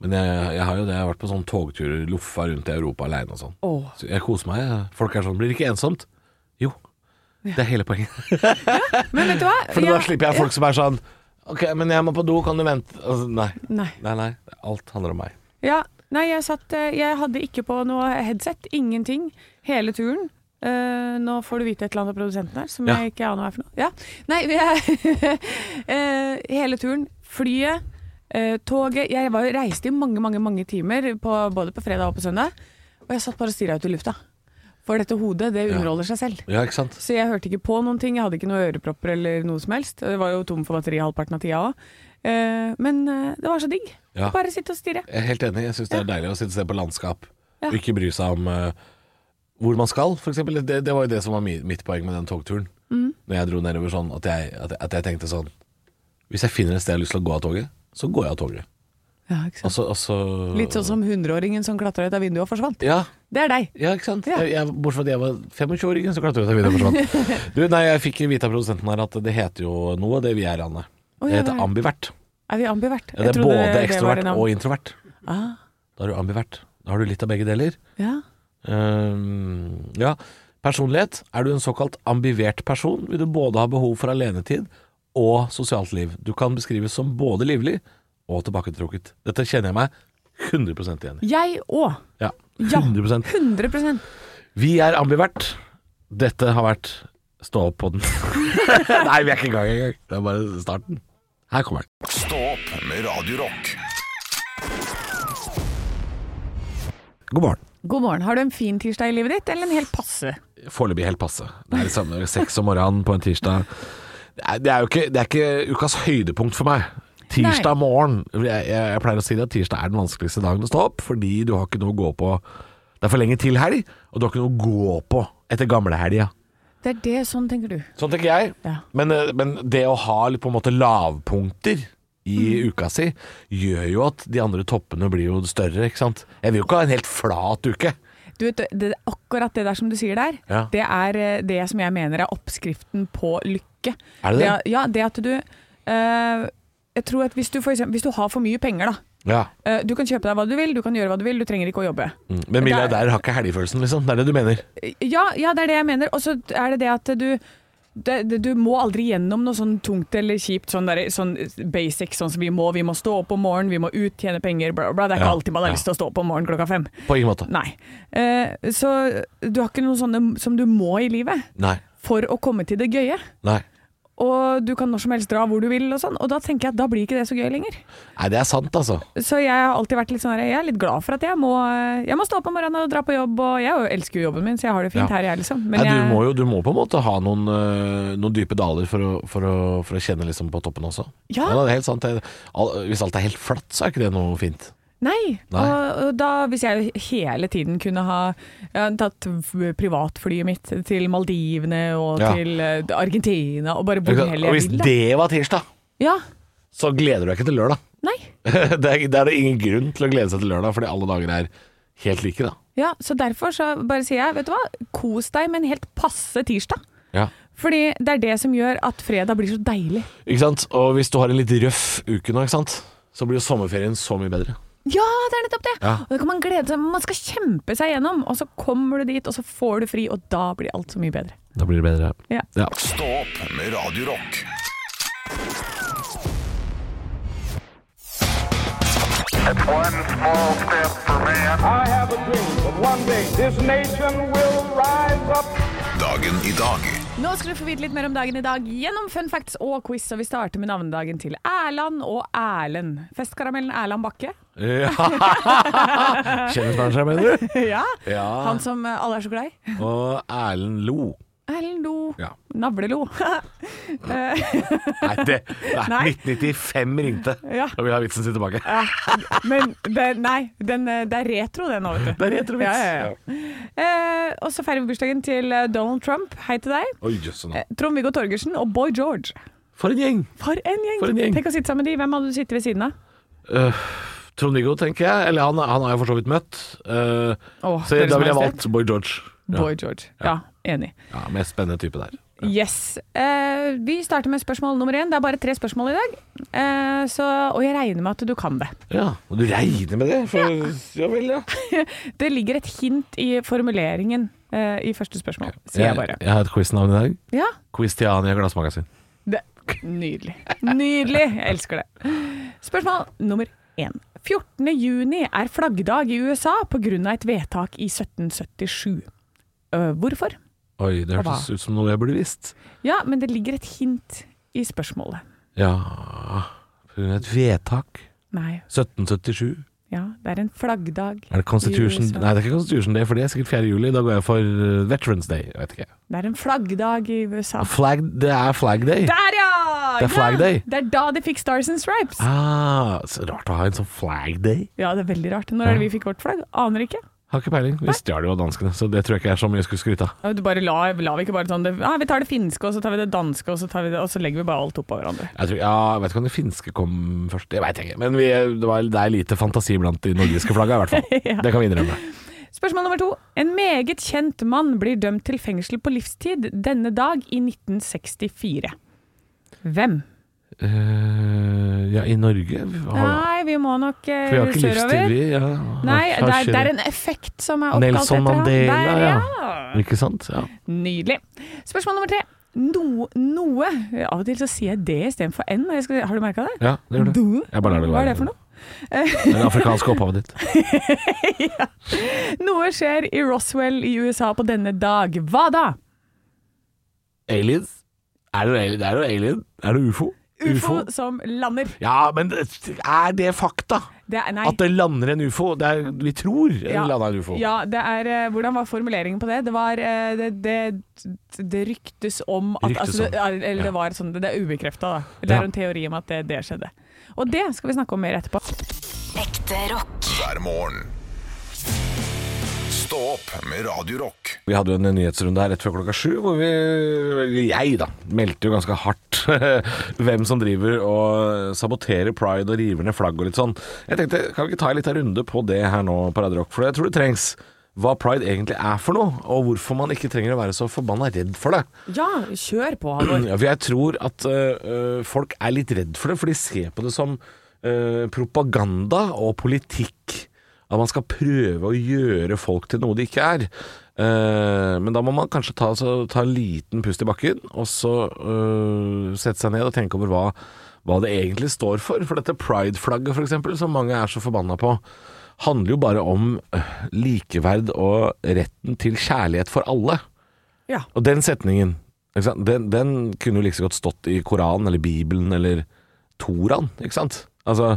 Speaker 4: men jeg, jeg har jo det. Jeg har vært på sånne togturer, loffa rundt i Europa aleine og sånn.
Speaker 3: Åh.
Speaker 4: Så jeg koser meg. Folk er sånn Blir det ikke ensomt? Jo. Det er hele poenget.
Speaker 3: Men vet du hva?
Speaker 4: For da
Speaker 3: Jeg-
Speaker 4: slipper jeg folk som er sånn Ok, men jeg må på do, kan du vente? Altså, nei.
Speaker 3: Nei.
Speaker 4: Nei, nei. Alt handler om meg.
Speaker 3: Ja, nei, jeg satt eh, Jeg hadde ikke på noe headset. Ingenting. Hele turen. Eh, nå får du vite et eller annet av produsenten her som
Speaker 4: Ja.
Speaker 3: jeg ikke aner hva er for noe. Ja. Nei, jeg, eh, hele turen. Flyet, eh, toget Jeg var, reiste i mange, mange mange timer, på, både på fredag og på søndag. Og jeg satt bare og stirra ut i lufta. For dette hodet, det
Speaker 4: Ja.
Speaker 3: underholder seg selv.
Speaker 4: Ja, ikke sant?
Speaker 3: Så jeg hørte ikke på noen ting. Jeg hadde ikke noen ørepropper eller noe som helst. Det var jo tom for batteri halvparten av tida òg. men eh, det var så digg.
Speaker 4: Ja.
Speaker 3: Bare sitte og stirre.
Speaker 4: Jeg er helt enig. Jeg syns det er deilig å sitte og se på landskap.
Speaker 3: Ja.
Speaker 4: Og ikke bry seg om eh, hvor man skal, f.eks. Det, det var jo det som var mi, mitt poeng med den togturen.
Speaker 3: Mm.
Speaker 4: Når jeg dro nedover sånn at jeg, at, jeg- at jeg tenkte sånn Hvis jeg finner et sted jeg har lyst til å gå av toget, så går jeg av toget.
Speaker 3: Ja, ikke sant?
Speaker 4: Og så, og så
Speaker 3: Litt sånn som hundreåringen som klatra ut av vinduet og forsvant.
Speaker 4: ja,
Speaker 3: Det er deg.
Speaker 4: ja, ikke sant?
Speaker 3: Ja.
Speaker 4: Jeg, jeg, bortsett fra at jeg var 25-åringen, så klarte jeg ut av vinduet og forsvant. du, nei, jeg fikk vite av produsenten her at det heter jo noe, det vi er, Anne.
Speaker 3: Å,
Speaker 4: Det
Speaker 3: ja,
Speaker 4: heter
Speaker 3: ja.
Speaker 4: ambivert.
Speaker 3: Er vi ambivert?
Speaker 4: Ja, det er både ekstrovert og introvert.
Speaker 3: ah,
Speaker 4: Da er du ambivert. Da har du litt av begge deler.
Speaker 3: ja.
Speaker 4: Ehm, ja, personlighet. Er du en såkalt ambivert person, vil du både ha behov for alenetid og sosialt liv. Du kan beskrives som både livlig og tilbaketrukket. Dette kjenner jeg meg 100 igjen i.
Speaker 3: Jeg òg.
Speaker 4: Ja,
Speaker 3: Ja.
Speaker 4: 100
Speaker 3: 100
Speaker 4: Vi er ambivert. Dette har vært Stå opp på den. Nei, vi er ikke i gang engang. Det er bare starten. Her kommer den.
Speaker 2: Stå opp med Radio Rock.
Speaker 4: God morgen.
Speaker 3: God morgen. Har du en fin tirsdag i livet ditt, eller en helt passe?
Speaker 4: Foreløpig helt passe. Det er det samme seks om morgenen på en tirsdag. Det er, det er jo ikke, det er ikke ukas høydepunkt for meg. Tirsdag morgen jeg, jeg, jeg pleier å si det at tirsdag er den vanskeligste dagen å stå opp, fordi du har ikke noe å gå på. Det er for lenge til helg, og du har ikke noe å gå på etter gamlehelga.
Speaker 3: Det er det, sånn tenker du.
Speaker 4: Sånn tenker jeg.
Speaker 3: Ja.
Speaker 4: Men, eh, men det å ha litt på en måte lavpunkter i
Speaker 3: Mm.
Speaker 4: uka si, gjør jo at de andre toppene blir jo større, ikke sant. Jeg vil jo ikke ha en helt flat uke.
Speaker 3: Du vet, det, akkurat det der som du sier der,
Speaker 4: Ja.
Speaker 3: det er eh, det som jeg mener er oppskriften på lykke.
Speaker 4: Er det det?
Speaker 3: at- ja, det at du eh, Jeg tror at hvis du, for eksempel, hvis du har for mye penger, da.
Speaker 4: Ja.
Speaker 3: eh, du kan kjøpe deg hva du vil, du kan gjøre hva du vil, du trenger ikke å jobbe.
Speaker 4: Mm. Men milliardærer har ikke helgefølelsen, liksom. Det er det du mener.
Speaker 3: Ja, ja, det er det jeg mener. Og så er det det at du det, det, du må aldri gjennom noe sånn tungt eller kjipt, sånn, der, sånn basic sånn som vi må. Vi må stå opp om morgenen, vi må ut, tjene penger, bla, bla, bla. Det er ikke
Speaker 4: Ja,
Speaker 3: alltid man har
Speaker 4: ja.
Speaker 3: lyst til å stå opp om morgenen klokka fem.
Speaker 4: På ingen måte.
Speaker 3: Nei. Eh, så du har ikke noen sånne som du må i livet
Speaker 4: Nei.
Speaker 3: for å komme til det gøye.
Speaker 4: Nei.
Speaker 3: Og du kan når som helst dra hvor du vil og sånn. Og da tenker jeg at da blir ikke det så gøy lenger.
Speaker 4: Nei, det er sant, altså.
Speaker 3: Så jeg har alltid vært litt sånn her, jeg er litt glad for at jeg må, eh, jeg må stå opp om morgenen og dra på jobb. Og jeg jo elsker jo jobben min, så jeg har det fint
Speaker 4: Ja.
Speaker 3: her, jeg, liksom.
Speaker 4: Nei, du,
Speaker 3: jeg,
Speaker 4: må jo, du må på en måte ha noen, øh, noen dype daler for å, for å, for å kjenne liksom på toppen også.
Speaker 3: Ja.
Speaker 4: det er helt sant. Det, all, hvis alt er helt flatt, så er ikke det noe fint.
Speaker 3: Nei,
Speaker 4: Nei.
Speaker 3: Og, og da hvis jeg hele tiden kunne ha ja, tatt f- privatflyet mitt til Maldivene og
Speaker 4: Ja.
Speaker 3: til eh, Argentina og bare
Speaker 4: Og
Speaker 3: hvor heller jeg
Speaker 4: hvis
Speaker 3: vil. da.
Speaker 4: det var tirsdag,
Speaker 3: Ja,
Speaker 4: så gleder du deg ikke til lørdag.
Speaker 3: nei.
Speaker 4: det, er, det er det ingen grunn til å glede seg til lørdag, fordi alle dager er helt like, da.
Speaker 3: Ja, så derfor så bare sier jeg, vet du hva, kos deg med en helt passe tirsdag.
Speaker 4: Ja.
Speaker 3: Fordi det er det som gjør at fredag blir så deilig.
Speaker 4: Ikke sant? Og hvis du har en litt røff uke nå, ikke sant? så blir jo sommerferien så mye bedre.
Speaker 3: Ja, det er nettopp det!
Speaker 4: Ja.
Speaker 3: Og det kan man glede seg Man skal kjempe seg gjennom, og så kommer du dit, og så får du fri, og da blir alt så mye bedre.
Speaker 4: Da blir det bedre.
Speaker 3: Ja.
Speaker 4: Ja.
Speaker 2: Stå opp med Radio Rock.
Speaker 1: One small step for man.
Speaker 6: I have a dream that one day this nation will rise up.
Speaker 2: Dagen i dag
Speaker 3: Nå skal du få vite litt mer om dagen i dag gjennom fun facts og quiz. Og vi starter med navnedagen til Erland og Erlend. Festkaramellen Erland Bakke.
Speaker 4: Kjendismanager, mener du?
Speaker 3: Ja.
Speaker 4: Ja.
Speaker 3: Han som eh, alle er så glad i.
Speaker 4: Og Erlend Lo.
Speaker 3: Erlend Lo.
Speaker 4: Ja.
Speaker 3: Navlelo.
Speaker 4: Nei, det, nei,
Speaker 3: Nei.
Speaker 4: 1995 ringte.
Speaker 3: Ja.
Speaker 4: Da vil jeg ha vitsen sin tilbake.
Speaker 3: Men det, nei, den, eh, det er retro det nå, vet du.
Speaker 4: Det er retrovits.
Speaker 3: Ja, ja, ja. Eh, og så feirer vi bursdagen til eh, Donald Trump. Hei til deg.
Speaker 4: Oi, jøsse navn.
Speaker 3: Eh, Trond-Viggo Torgersen og Boy George.
Speaker 4: For en gjeng!
Speaker 3: For en gjeng!
Speaker 4: For en gjeng.
Speaker 3: Tenk å sitte sammen med de. Hvem hadde du sittet ved siden av?
Speaker 4: Øh, Trond-Viggo, tenker jeg. Eller han, han har jeg for så vidt møtt. Eh,
Speaker 3: Åh,
Speaker 4: så
Speaker 3: Deres
Speaker 4: da ville jeg
Speaker 3: Majestet.
Speaker 4: valgt Boy George. Ja.
Speaker 3: Boy George. Ja, enig.
Speaker 4: ja, Mest spennende type der.
Speaker 3: Yes. Eh, vi starter med spørsmål nummer én. Det er bare tre spørsmål i dag. Eh, så, og jeg regner med at du kan det.
Speaker 4: Ja, og Du regner med det? For, ja. vel, ja.
Speaker 3: Det ligger et hint i formuleringen eh, i første spørsmål, sier jeg bare.
Speaker 4: har et quiznavn i dag.
Speaker 3: Ja,
Speaker 4: Quiz-Tiania Glassmagasin.
Speaker 3: det. Nydelig. Nydelig! Jeg elsker det. Spørsmål nummer én. 14. juni er flaggdag i USA pga. et vedtak i 1777. Eh, hvorfor?
Speaker 4: Oi, det hørtes ut som noe jeg burde visst.
Speaker 3: Ja, men det ligger et hint i spørsmålet.
Speaker 4: Ja på grunn av Et vedtak.
Speaker 3: Nei,
Speaker 4: 1777.
Speaker 3: ja, det er en flaggdag.
Speaker 4: Er det Constitution
Speaker 3: i USA.
Speaker 4: Nei, det er ikke Constitution Day, for det er sikkert 4. juli. Da går jeg for eh, Veterans Day. Jeg vet ikke.
Speaker 3: Det er en flaggdag i USA.
Speaker 4: Flag, det er Flag Day.
Speaker 3: Der, ja!
Speaker 4: Det er flag day.
Speaker 3: Ja, det er da de fikk Stars and Stripes.
Speaker 4: Ah, så rart å ha en sånn Flag Day.
Speaker 3: Ja, det er veldig rart. Når er det vi fikk vårt flagg? Aner ikke.
Speaker 4: Har ikke peiling. Vi stjal jo av danskene, så det tror jeg ikke er så mye jeg skulle skryte av.
Speaker 3: Ja, Du bare la, la vi ikke bare sånn det, ah, Vi tar det finske, og så tar vi det danske, og så, tar vi det, og så legger vi bare alt oppå hverandre.
Speaker 4: Jeg, tror, ja, jeg vet ikke om det finske kom først, jeg veit ikke. Men vi, det, var, det er lite fantasi blant de nordiske flagga, i hvert fall. Det kan vi innrømme.
Speaker 3: Spørsmål nummer to. En meget kjent mann blir dømt til fengsel på livstid denne dag i 1964. Hvem?
Speaker 4: Eh, ja, i Norge har,
Speaker 3: Nei, vi må nok eh,
Speaker 4: For vi har ikke livstid,
Speaker 3: sørover.
Speaker 4: vi. Ja.
Speaker 3: Nei, det
Speaker 4: Her
Speaker 3: er, det
Speaker 4: skjer
Speaker 3: er en effekt som er oppkalt
Speaker 4: Nelson
Speaker 3: etter ham.
Speaker 4: Mandela,
Speaker 3: Der,
Speaker 4: ja.
Speaker 3: ja.
Speaker 4: Ikke sant? Ja.
Speaker 3: Nydelig. Spørsmål nummer tre. No, noe Av og til så sier jeg det istedenfor n. når jeg skal- Har du merka det?
Speaker 4: ja, det gjør det.
Speaker 3: Noe.
Speaker 4: Jeg bare lar det
Speaker 3: Hva er
Speaker 4: være.
Speaker 3: det for noe?
Speaker 4: Det er det afrikanske opphavet ditt.
Speaker 3: Noe skjer i Roswell i USA på denne dag. Hva da?
Speaker 4: Aliens? Er det, noe- det er jo alien. Er det ufo?
Speaker 3: UFO, som lander.
Speaker 4: Ja, men er det fakta?
Speaker 3: Det er, nei.
Speaker 4: At det lander en ufo? Det er, vi tror det
Speaker 3: Ja.
Speaker 4: landa en ufo.
Speaker 3: Ja, det er, eh, hvordan var formuleringen på det? Det var eh, Det, det, det ryktes om at
Speaker 4: Ryktes
Speaker 3: altså, det, er- Eller
Speaker 4: Ja.
Speaker 3: det var sånn Det er ubekrefta, da. Det
Speaker 4: Ja.
Speaker 3: er en teori om at det, det skjedde. Og det skal vi snakke om mer etterpå.
Speaker 7: Ekte rock.
Speaker 2: hver morgen. Stå opp med Radio Rock.
Speaker 4: Vi hadde jo en nyhetsrunde her rett før klokka sju, hvor vi, eller jeg da, meldte jo ganske hardt hvem som driver og saboterer pride og river ned flagg og litt sånn. Jeg tenkte, kan vi ikke ta en liten runde på det her nå, Parade Rock, for jeg tror det trengs hva pride egentlig er for noe, og hvorfor man ikke trenger å være så forbanna redd for det.
Speaker 3: Ja, kjør på, Halvor.
Speaker 4: Ja, for jeg tror at øh, øh, folk er litt redd for det, for de ser på det som øh, propaganda og politikk. At man skal prøve å gjøre folk til noe de ikke er. Eh, men da må man kanskje ta, så, ta en liten pust i bakken, og så øh, sette seg ned og tenke over hva, hva det egentlig står for. For dette pride-flagget, f.eks., som mange er så forbanna på, handler jo bare om øh, likeverd og retten til kjærlighet for alle.
Speaker 3: Ja.
Speaker 4: Og den setningen, Ikke sant? Den, den kunne jo like så godt stått i Koranen eller Bibelen eller Toraen, ikke sant? Altså,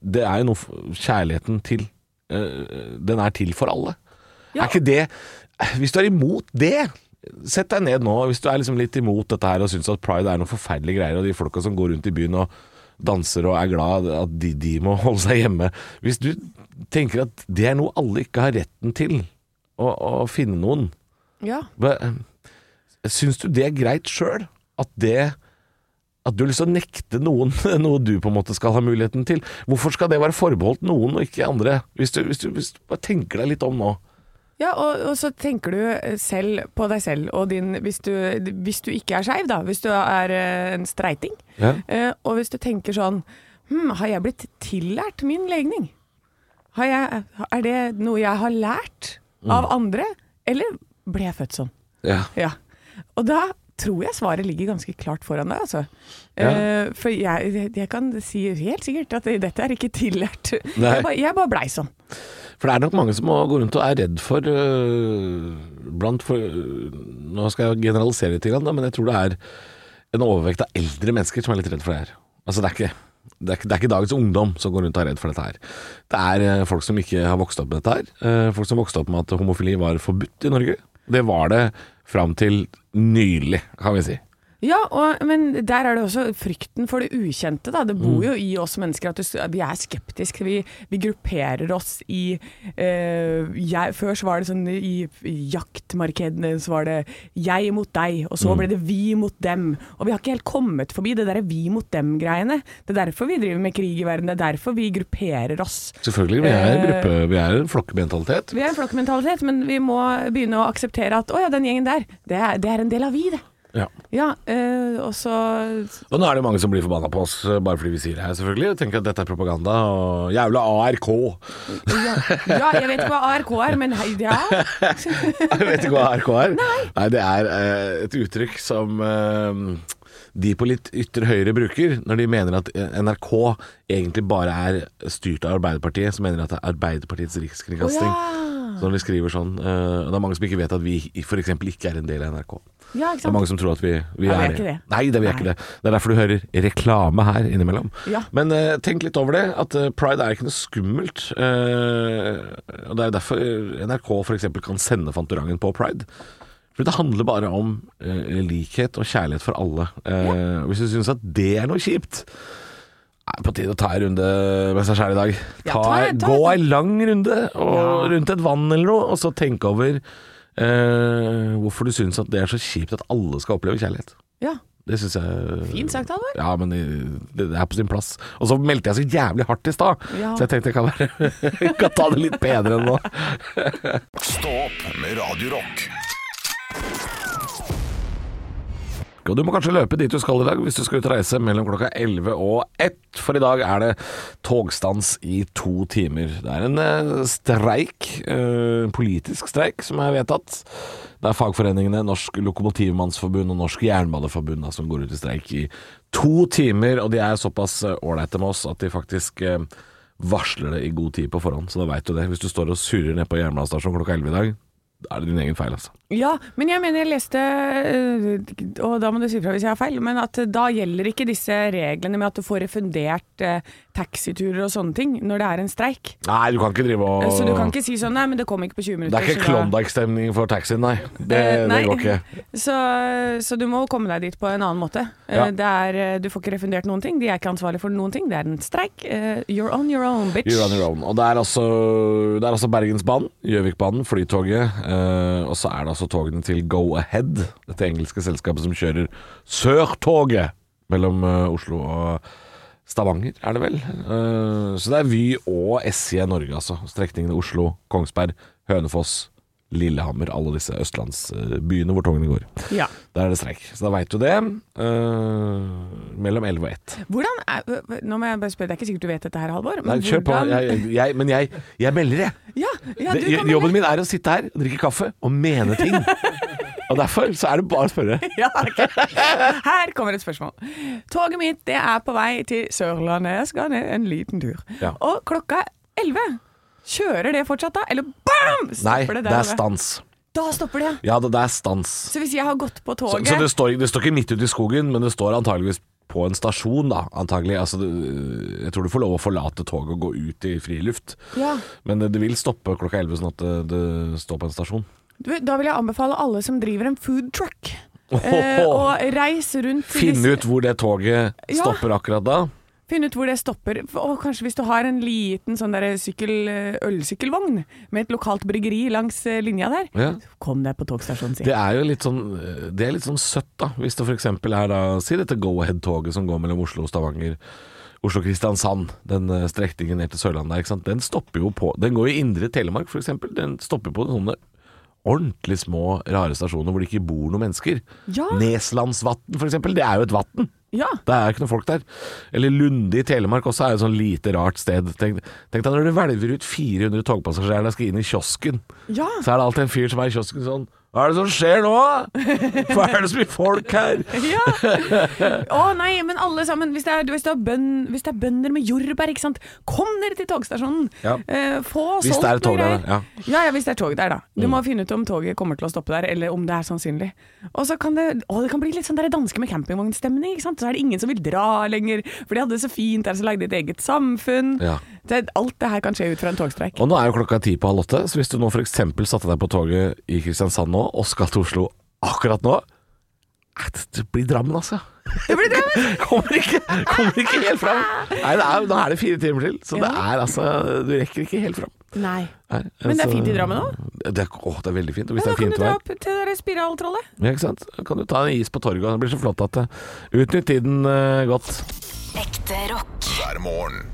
Speaker 4: det er jo noe f- Kjærligheten til eh, Den er til for alle.
Speaker 3: Ja.
Speaker 4: Er ikke det Hvis du er imot det Sett deg ned nå, hvis du er liksom litt imot dette her og syns at pride er noen forferdelige greier, og de folka som går rundt i byen og danser og er glad at de, de må holde seg hjemme Hvis du tenker at det er noe alle ikke har retten til, å, å finne noen
Speaker 3: Ja.
Speaker 4: hva- eh, Syns du det er greit sjøl? At det At du liksom nekter noen noe du på en måte skal ha muligheten til? Hvorfor skal det være forbeholdt noen og ikke andre? Hvis du, hvis du, hvis du bare tenker deg litt om nå.
Speaker 3: Ja, og, og så tenker du eh, selv på deg selv og din Hvis du, hvis du ikke er skeiv, da. Hvis du er eh, en streiting.
Speaker 4: Ja.
Speaker 3: Eh, og hvis du tenker sånn Hm, har jeg blitt tillært min legning? Har jeg, er det noe jeg har lært
Speaker 4: Mm.
Speaker 3: av andre? Eller ble jeg født sånn?
Speaker 4: Ja.
Speaker 3: Ja. Og da tror jeg svaret ligger ganske klart foran deg, altså.
Speaker 4: Ja.
Speaker 3: Eh, for jeg, jeg kan si helt sikkert at dette er ikke tillært.
Speaker 4: Nei.
Speaker 3: Jeg bare, jeg bare blei sånn.
Speaker 4: For det er nok mange som må gå rundt og er redd for øh, Blant for øh, Nå skal jeg generalisere litt, grann, da, men jeg tror det er en overvekt av eldre mennesker som er litt redd for det her. Altså det er ikke det er, ikke- det er ikke dagens ungdom som går rundt og er redd for dette her. Det er øh, folk som ikke har vokst opp med dette her. Eh, folk som vokste opp med at homofili var forbudt i Norge. Det var det fram til nylig, kan vi si.
Speaker 3: Ja, og, men der er det også frykten for det ukjente. Da. Det bor jo i oss mennesker at du- vi er skeptiske. Vi, vi grupperer oss i eh, jeg, Før så var det sånn i, i jaktmarkedene så var det jeg mot deg, og så ble det vi mot dem. Og vi har ikke helt kommet forbi det derre vi mot dem-greiene. Det er derfor vi driver med krig i verden. Det er derfor vi grupperer oss.
Speaker 4: Selvfølgelig, vi er, en
Speaker 3: Eh.
Speaker 4: gruppe, vi er en flokkmentalitet.
Speaker 3: Vi er en flokkmentalitet, men vi må begynne å akseptere at å ja, den gjengen der, det er, det er en del av vi, det.
Speaker 4: Ja.
Speaker 3: Ja, eh, og så
Speaker 4: Og nå er det mange som blir forbanna på oss eh, bare fordi vi sier det her, selvfølgelig. Og tenker at dette er propaganda og jævla ARK.
Speaker 3: Ja, ja, jeg vet ikke hva ARK er, men hei, ja.
Speaker 4: Jeg vet ikke hva ARK er. Nei, det er eh, et uttrykk som eh, de på litt ytre høyre bruker når de mener at eh, NRK egentlig bare er styrt av Arbeiderpartiet, som mener at det er Arbeiderpartiets rikskringkasting.
Speaker 3: Å, ja.
Speaker 4: Så når de skriver sånn eh, og Det er mange som ikke vet at vi f.eks. ikke er en del av NRK.
Speaker 3: Ja, ikke
Speaker 4: Det er
Speaker 3: sant?
Speaker 4: mange som tror at vi, vi
Speaker 3: Ja, vi
Speaker 4: er,
Speaker 3: er ikke det.
Speaker 4: Nei, det er vi er ikke det. Det er derfor du hører reklame her innimellom.
Speaker 3: Ja.
Speaker 4: Men eh, tenk litt over det, at eh, pride er ikke noe skummelt. eh, og Det er jo derfor NRK f.eks. kan sende Fantorangen på pride. For det handler bare om eh, likhet og kjærlighet for alle. Eh, Hvis du syns at det er noe kjipt er på tide å ta en runde med seg sjæl i dag.
Speaker 3: Ja,
Speaker 4: Ta,
Speaker 3: ta- ta-
Speaker 4: Gå ei lang runde og,
Speaker 3: Ja.
Speaker 4: rundt et vann eller noe, og så tenk over eh, hvorfor du syns at det er så kjipt at alle skal oppleve kjærlighet.
Speaker 3: Ja,
Speaker 4: Det syns jeg
Speaker 3: fint sagt, Halvor.
Speaker 4: Ja, men i- det er på sin plass. Og så meldte jeg så jævlig hardt i stad,
Speaker 3: Ja.
Speaker 4: så jeg tenkte jeg kan, være, jeg kan ta det litt bedre nå.
Speaker 2: Stå opp med Radio Rock.
Speaker 4: Og du må kanskje løpe dit du skal i dag hvis du skal ut og reise mellom klokka 11 og 1, for i dag er det togstans i to timer. Det er en eh, streik, eh, politisk streik, som er vedtatt. Det er fagforeningene Norsk Lokomotivmannsforbund og Norsk Jernbaneforbund da, som går ut i streik i to timer, og de er såpass eh, ålreite med oss at de faktisk eh, varsler det i god tid på forhånd, så da veit du det. Hvis du står og surrer ned på jernbanestasjonen klokka 11 i dag, da er det din egen feil, altså.
Speaker 3: Ja, men jeg mener jeg leste, øh, og da må du si fra hvis jeg har feil, men at da gjelder ikke disse reglene med at du får refundert eh, taxiturer og sånne ting når det er en streik.
Speaker 4: Nei, du kan ikke drive og
Speaker 3: Så du kan ikke si sånn nei, men det kom ikke på 20
Speaker 4: Det
Speaker 3: minutter.
Speaker 4: er ikke
Speaker 3: så da-
Speaker 4: Klondyke-stemning for taxien, nei. Det,
Speaker 3: Eh,
Speaker 4: det
Speaker 3: nei.
Speaker 4: går ikke.
Speaker 3: Så, så du må komme deg dit på en annen måte.
Speaker 4: Ja.
Speaker 3: Eh, Det er, eh, du får ikke refundert noen ting. De er ikke ansvarlig for noen ting. Det er en streik. Eh, You're on your own, bitch.
Speaker 4: You're on your own. Og det er altså, det er altså Bergensbanen, Gjøvikbanen, Flytoget, eh, og så er det altså togene til Go Ahead, dette engelske selskapet som kjører Sørtoget mellom eh, Oslo og Stavanger, er det vel. Eh, så det er Vy og SJ Norge, altså. Strekningene Oslo, Kongsberg, Hønefoss, Lillehammer, alle disse østlandsbyene hvor togene går.
Speaker 3: Ja.
Speaker 4: Der er det streik. Så da veit du det. Eh, mellom 11 og 1.
Speaker 3: Hvordan er, nå må jeg bare spørre, Det er ikke sikkert du vet dette her, Halvor.
Speaker 4: Nei,
Speaker 3: men
Speaker 4: kjør på.
Speaker 3: hvordan-
Speaker 4: Jeg, jeg, men jeg, jeg melder, jeg.
Speaker 3: ja, ja, du
Speaker 4: Det-
Speaker 3: kan melde.
Speaker 4: Jobben min er å sitte her, drikke kaffe og mene ting. Og derfor så er det bare å spørre.
Speaker 3: Ja, ok. Her kommer et spørsmål. Toget mitt det er på vei til Sørlandet. Jeg skal ned en liten tur.
Speaker 4: Ja.
Speaker 3: Og klokka 11 Kjører det fortsatt da? Eller bam!
Speaker 4: Nei,
Speaker 3: Stopper
Speaker 4: det
Speaker 3: der og da?
Speaker 4: er stans.
Speaker 3: Da stopper de, ja.
Speaker 4: Ja, det, det er stans.
Speaker 3: Så hvis jeg har gått på
Speaker 4: Så,
Speaker 3: toget
Speaker 4: så det, står, det står ikke midt ute i skogen, men det står antageligvis på en stasjon, da. Antagelig. Altså, det- jeg tror du får lov å forlate toget og gå ut i friluft.
Speaker 3: ja,
Speaker 4: Men det, det vil stoppe klokka 11, sånn at det, det står på en stasjon.
Speaker 3: du, Da vil jeg anbefale alle som driver en food truck, eh, å reise rundt til disse-
Speaker 4: Finne ut hvor det toget
Speaker 3: Ja.
Speaker 4: stopper akkurat da.
Speaker 3: Finn ut hvor det stopper. Og kanskje hvis du har en liten sånn der sykkel, ølsykkelvogn med et lokalt bryggeri langs eh, linja der,
Speaker 4: Ja.
Speaker 3: kom deg på togstasjonen si.
Speaker 4: Det er jo litt sånn Det er litt sånn søtt, da. Hvis det f.eks. er da Si dette Go-Ahead-toget som går mellom Oslo og Stavanger. Oslo-Kristiansand, den eh, strekningen ned til Sørlandet der, ikke sant. Den stopper jo på Den går i indre Telemark, f.eks. Den stopper på sånne ordentlig små, rare stasjoner hvor det ikke bor noen mennesker.
Speaker 3: Ja.
Speaker 4: Neslandsvatn, f.eks. Det er jo et vatn.
Speaker 3: Ja,
Speaker 4: Det er ikke noen folk der. Eller Lunde i Telemark også er et sånn lite rart sted. Tenk, tenk deg når du hvelver ut 400 togpassasjerer der skal inn i kiosken.
Speaker 3: ja.
Speaker 4: Så er det alltid en fyr som er i kiosken sånn Hva er det som skjer nå? Hva er det så mye folk her?
Speaker 3: Ja. Å nei, men alle sammen. Hvis det er, hvis det er, bønn, hvis det er bønder med jordbær, ikke sant. Kom dere til togstasjonen.
Speaker 4: Ja.
Speaker 3: Eh, få
Speaker 4: Hvis
Speaker 3: solgt
Speaker 4: det er et tog
Speaker 3: noe
Speaker 4: der,
Speaker 3: greier.
Speaker 4: ja. Mm.
Speaker 3: ja. Ja, hvis det er tog der, da. Du må finne ut om toget kommer til å stoppe der, eller om det er sannsynlig. Og så kan det, å, det kan bli litt sånn der danske med campingvognstemning, ikke sant. Så er det ingen som vil dra lenger, for de hadde det så fint der, så lagde de et eget samfunn.
Speaker 4: Ja.
Speaker 3: Det, alt det her kan skje ut fra en togstreik.
Speaker 4: Og nå er jo klokka ti på halv åtte, så hvis du nå f.eks. satte deg på toget i Kristiansand nå, og skal til Oslo akkurat nå eh, Det blir Drammen, altså.
Speaker 3: Det blir drømmen!
Speaker 4: Kommer ikke, kommer ikke helt fram. Nei, det er, nå er det fire timer til, så det er altså Du rekker ikke helt fram.
Speaker 3: Nei.
Speaker 4: Nei,
Speaker 3: Men det er
Speaker 4: altså,
Speaker 3: fint i Drammen også?
Speaker 4: Det er, åh, det er veldig fint. Og hvis
Speaker 3: Men
Speaker 4: det
Speaker 3: da
Speaker 4: er
Speaker 3: kan du
Speaker 4: fint
Speaker 3: dra
Speaker 4: vær
Speaker 3: opp til det der spiraltrollet.
Speaker 4: Ja, ikke sant? Da kan du ta en is på torget, og det blir så flott at det Utnytt tiden eh, godt.
Speaker 7: Ekte rock.
Speaker 2: hver morgen.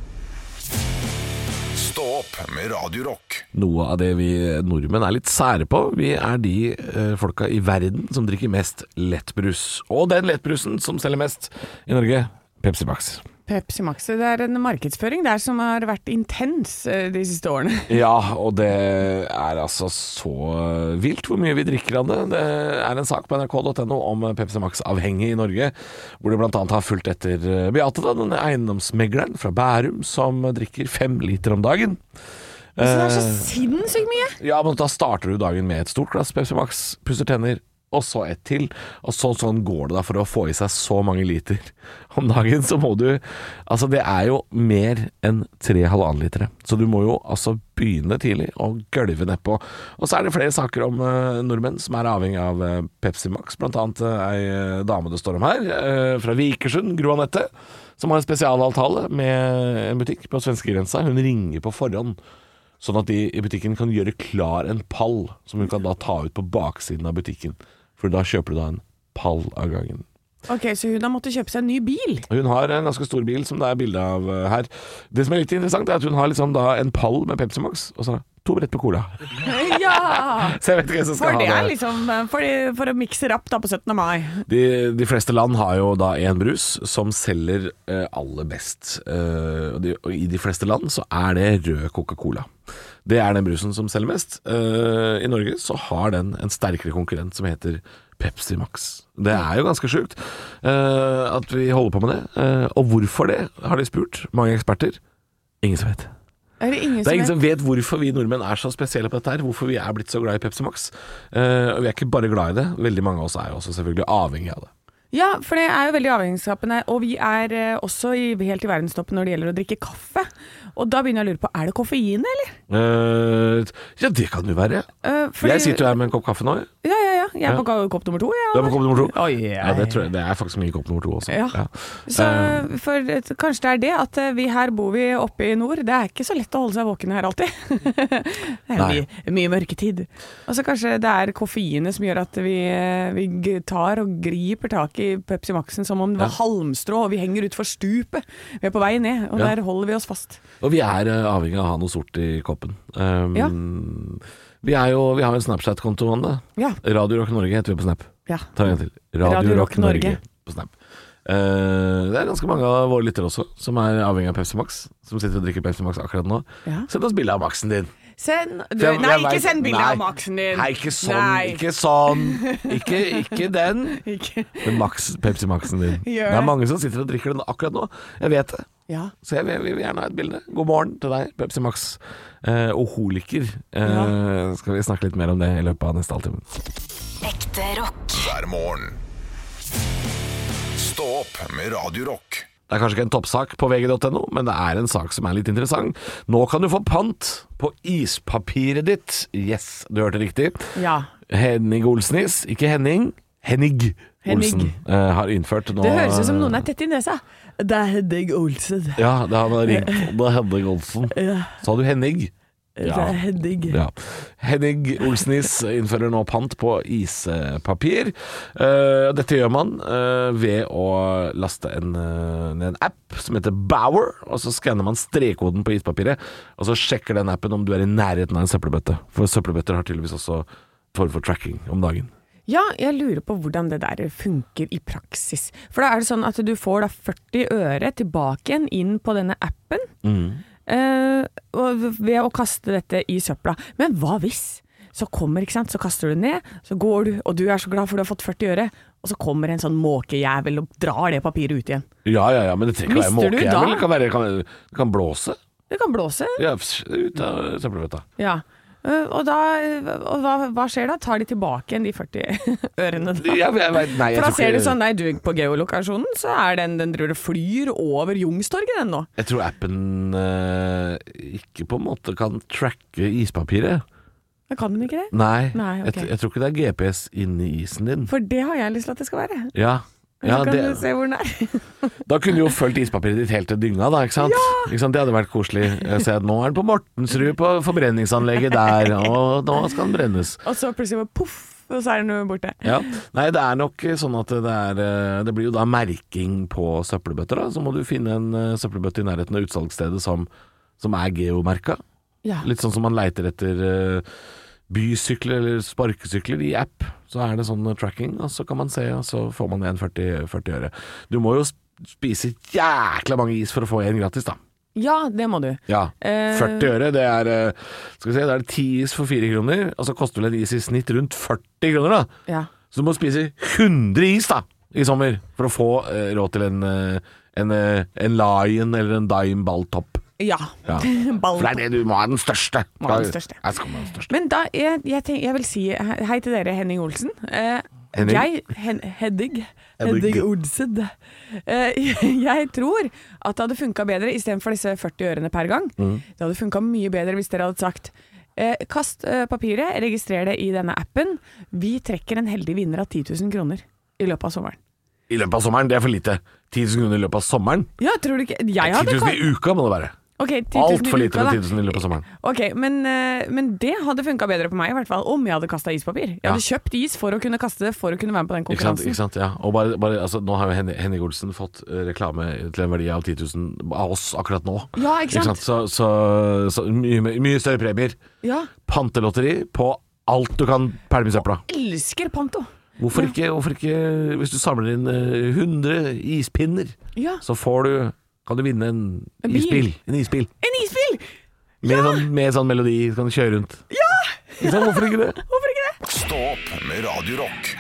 Speaker 2: Stå opp med Radio Rock.
Speaker 4: Noe av det vi nordmenn er litt sære på, vi er de eh, folka i verden som drikker mest lettbrus. Og den lettbrusen som selger mest i Norge, Pepsi Max.
Speaker 3: Pepsi Max, det er en markedsføring der som har vært intens eh, de siste årene.
Speaker 4: Ja, og det er altså så vilt hvor mye vi drikker av det. Det er en sak på nrk.no om Pepsi Max-avhengig i Norge, hvor de bl.a. har fulgt etter eh, Beate, da, den eiendomsmegleren fra Bærum, som drikker fem liter om dagen.
Speaker 3: Så det er så
Speaker 4: Eh,
Speaker 3: sinnssykt mye.
Speaker 4: Ja, men da starter du dagen med et stort glass Pepsi Max, pusser tenner, og så et til. Og så, sånn går det da for å få i seg så mange liter om dagen. Så må du Altså, det er jo mer enn tre halvannen litere. Så du må jo altså begynne tidlig og gølve nedpå. Og så er det flere saker om eh, nordmenn som er avhengig av eh, Pepsi Max. Blant annet eh, ei eh, dame det står om her, eh, fra Vikersund, Gro Anette, som har en spesialavtale med en butikk på svenskegrensa. Hun ringer på forhånd. Sånn at de i butikken kan gjøre klar en pall som hun kan da ta ut på baksiden av butikken. For da kjøper du da en pall av gangen.
Speaker 3: Ok, så hun har måttet kjøpe seg en ny bil.
Speaker 4: Hun har en ganske stor bil som det er bilde av eh, her. Det som er litt interessant, er at hun har liksom da en pall med Pepsi Max og så to brett med cola.
Speaker 3: Ja!
Speaker 4: Så jeg vet ikke hvem som
Speaker 3: For
Speaker 4: skal
Speaker 3: det
Speaker 4: ha
Speaker 3: er
Speaker 4: det.
Speaker 3: liksom eh, for, for å mikse rapp da på 17. mai.
Speaker 4: De, de fleste land har jo da én brus som selger eh, aller best. Eh, og, de, og i de fleste land så er det rød Coca-Cola. Det er den brusen som selger mest. Eh, I Norge så har den en sterkere konkurrent som heter Pepsi Max. Det er jo ganske sjukt eh, at vi holder på med det. Eh, og hvorfor det, har de spurt mange eksperter. Ingen som vet.
Speaker 3: Er det ingen
Speaker 4: Det er ingen
Speaker 3: som
Speaker 4: som vet hvorfor vi nordmenn er så spesielle på dette her. Hvorfor vi er blitt så glad i Pepsi Max. Eh, og vi er ikke bare glad i det. Veldig mange av oss er jo også selvfølgelig avhengig av det.
Speaker 3: Ja, for det er jo veldig avhengighetsskapende. Og vi er eh, også i, helt i verdenstoppen når det gjelder å drikke kaffe. Og da begynner jeg å lure på, er det koffein, eller?
Speaker 4: Eh, ja, det kan det jo være.
Speaker 3: Eh, fordi-
Speaker 4: Jeg sitter jo her med en kopp kaffe nå. jeg.
Speaker 3: Ja, ja, ja. Jeg er på ka- kopp nummer to. jeg,
Speaker 4: Du er på
Speaker 3: Halvor.
Speaker 4: kopp nummer to?
Speaker 3: Oi,
Speaker 4: ja, det, tror jeg, det er faktisk mye kopp nummer to også.
Speaker 3: Ja. Så
Speaker 4: Eh,
Speaker 3: for, et- kanskje det er det at eh, vi her bor vi oppe i nord. Det er ikke så lett å holde seg våken her alltid. det er
Speaker 4: Nei.
Speaker 3: mye, mye mørketid. Og så kanskje det er koffeinet som gjør at vi, eh, vi g- tar og griper tak i Pepsi Maxen som om det var halmstrå, og vi henger utfor stupet. Vi er på vei ned, og
Speaker 4: Ja.
Speaker 3: der holder vi oss fast.
Speaker 4: og vi er eh, avhengig av å ha noe sort i koppen. Um,
Speaker 3: Ja.
Speaker 4: Vi, er jo, vi har jo en Snapchat-konto om det.
Speaker 3: Ja.
Speaker 4: Radio Rock Norge heter vi på Snap.
Speaker 3: ja.
Speaker 4: Ta en gang til. Radio, Rock Norge, på Snap. Eh, det er ganske mange av våre lyttere også som er avhengig av Pepsi Max. Som sitter og drikker Pepsi Max akkurat nå.
Speaker 3: Ja.
Speaker 4: Send oss bilde av Maxen din.
Speaker 3: Send du,
Speaker 4: For jeg-
Speaker 3: Nei,
Speaker 4: jeg
Speaker 3: ikke
Speaker 4: vet-
Speaker 3: send bilde av
Speaker 4: nei.
Speaker 3: Maxen din!
Speaker 4: Nei, ikke sånn.
Speaker 3: Nei.
Speaker 4: Ikke sånn. Ikke, ikke den.
Speaker 3: Ikke-
Speaker 4: Men Max, Pepsi Maxen din.
Speaker 3: Gjør
Speaker 4: det er
Speaker 3: det.
Speaker 4: mange som sitter og drikker den akkurat nå. Jeg vet det.
Speaker 3: Ja.
Speaker 4: Så jeg vil, vil gjerne ha et bilde. God morgen til deg, Pepsi Max eh, og holiker. Eh,
Speaker 3: Ja.
Speaker 4: Skal vi snakke litt mer om det i løpet av neste halvtime.
Speaker 7: Ekte rock.
Speaker 2: hver morgen. Stå opp med Radio Rock.
Speaker 4: Det er kanskje ikke en toppsak på vg.no, men det er en sak som er litt interessant. Nå kan du få pant på ispapiret ditt. Yes, du hørte riktig.
Speaker 3: ja.
Speaker 4: Henning Olsnis, ikke Henning, Henning Olsen
Speaker 3: Henning.
Speaker 4: eh, har innført nå
Speaker 3: Det høres ut som noen er tett i nesa. Det er Heddig Olsen.
Speaker 4: Ja, det har ringt Det er Henning Olsen. Sa du Henning?
Speaker 3: Det er Heddig.
Speaker 4: Ja. Henning Olsnis innfører nå pant på ispapir. Eh, dette gjør man eh, ved å laste en, eh, en app som heter Bower, og så skanner man strekkoden på ispapiret, og så sjekker den appen om du er i nærheten av en søppelbøtte. For søppelbøtter har tydeligvis også form for tracking om dagen.
Speaker 3: Ja, jeg lurer på hvordan det der funker i praksis. For da er det sånn at du får da 40 øre tilbake igjen inn på denne appen eh, og ved å kaste dette i søpla. Men hva hvis? Så kommer, ikke sant, så kaster du ned, så går du, og du er så glad for du har fått 40 øre, og så kommer en sånn måkejævel og drar det papiret ut igjen.
Speaker 4: Ja, ja, ja, men det trenger ikke være
Speaker 3: Mister du da?
Speaker 4: måkejævel. Det kan, være, kan, det kan blåse.
Speaker 3: Det kan blåse.
Speaker 4: Ja, pss, ut av søppelbøtta.
Speaker 3: Ja. Eh, og da, og hva, hva skjer da? Tar de tilbake igjen de 40 ørene da?
Speaker 4: Ja, jeg vet- nei, jeg
Speaker 3: For da
Speaker 4: tror
Speaker 3: ser
Speaker 4: ikke-
Speaker 3: du sånn, nei du, på geolokasjonen så er den, den driver og flyr over Jungstorget den nå.
Speaker 4: Jeg tror appen eh, ikke på en måte kan tracke ispapiret.
Speaker 3: Da kan den ikke det.
Speaker 4: Nei,
Speaker 3: Nei, ok.
Speaker 4: jeg, jeg tror ikke det er GPS inni isen din.
Speaker 3: For det har jeg lyst til at det skal være.
Speaker 4: Ja, ja
Speaker 3: så kan du
Speaker 4: det,
Speaker 3: se hvor den er.
Speaker 4: Da kunne du jo fulgt ispapiret ditt helt til dynga, da. Ikke sant? Ikke sant? Det hadde vært koselig. Jeg ser at nå er den på Mortensrud, på forbrenningsanlegget der, og nå skal den brennes.
Speaker 3: Og så plutselig bare poff, og så er den jo borte.
Speaker 4: Ja. Nei, det er nok sånn at det er eh, Det blir jo da merking på søppelbøtter, da. Så må du finne en eh, søppelbøtte i nærheten av utsalgsstedet som, som er geomerka.
Speaker 3: Ja.
Speaker 4: Litt sånn som man leiter etter eh, bysykler eller sparkesykler i app. Så er det sånn eh, tracking, og så kan man se, og så får man igjen 40, 40 øre. Du må jo sp- spise jækla mange is for å få en gratis, da.
Speaker 3: ja, det må du.
Speaker 4: Ja.
Speaker 3: Eh,
Speaker 4: 40 øre, det er eh, Skal vi se, da er det 10 is for 4 kroner, og så koster vel en is i snitt rundt 40 kroner, da.
Speaker 3: Ja.
Speaker 4: Så du må spise 100 is, da, i sommer, for å få eh, råd til en, eh, en, eh, en Lion eller en Dime balltopp.
Speaker 3: ja.
Speaker 4: Ja.
Speaker 3: Ball.
Speaker 4: For det er det du må ha den største.
Speaker 3: Må ha den største.
Speaker 4: Jeg skal ha den største.
Speaker 3: Men da, jeg, jeg, tenk, jeg vil si he- hei til dere, Henning Olsen. Eh,
Speaker 4: Henning?
Speaker 3: Jeg, hen, Heddig.
Speaker 4: Heddig.
Speaker 3: Heddig Olsen. Eh, jeg tror at det hadde funka bedre istedenfor disse 40 ørene per gang.
Speaker 4: Mm.
Speaker 3: Det hadde funka mye bedre hvis dere hadde sagt eh, kast eh, papiret, registrer det i denne appen. Vi trekker en heldig vinner av 10 000 kroner i løpet av sommeren.
Speaker 4: I løpet av sommeren, det er for lite. 10 000 kroner i løpet av sommeren?
Speaker 3: Ja, tror du ikke Jeg
Speaker 4: 10
Speaker 3: hadde
Speaker 4: 000 i uka må det være.
Speaker 3: okay, 10 000 i
Speaker 4: Altfor lite
Speaker 3: uka,
Speaker 4: med
Speaker 3: da.
Speaker 4: 10 000 i løpet av sommeren.
Speaker 3: Ok, men, eh, men det hadde funka bedre på meg, i hvert fall om jeg hadde kasta ispapir. Jeg
Speaker 4: Ja.
Speaker 3: hadde kjøpt is for å kunne kaste det, for å kunne være med på den
Speaker 4: Ikke sant,
Speaker 3: konkurransen.
Speaker 4: ikke sant, ja. Og bare, bare, altså, nå har jo Henning, Henning Olsen fått eh, reklame til en verdi av 10 000 av oss akkurat nå.
Speaker 3: Ja, ikke sant?
Speaker 4: Så, så, så mye, mye større premier.
Speaker 3: Ja.
Speaker 4: Pantelotteri på alt du kan pælme i søpla.
Speaker 3: Elsker panto.
Speaker 4: Hvorfor ikke, hvorfor ikke Hvis du samler inn eh, 100 ispinner,
Speaker 3: Ja.
Speaker 4: så får du kan du vinne en,
Speaker 3: En bil.
Speaker 4: isbil. En isbil.
Speaker 3: En isbil!
Speaker 4: Med, sånn, med sånn melodi så kan du kjøre rundt. Ja! Ikke sant, hvorfor ikke det?
Speaker 3: Hvorfor ikke det?
Speaker 2: Stå opp med Radio Rock.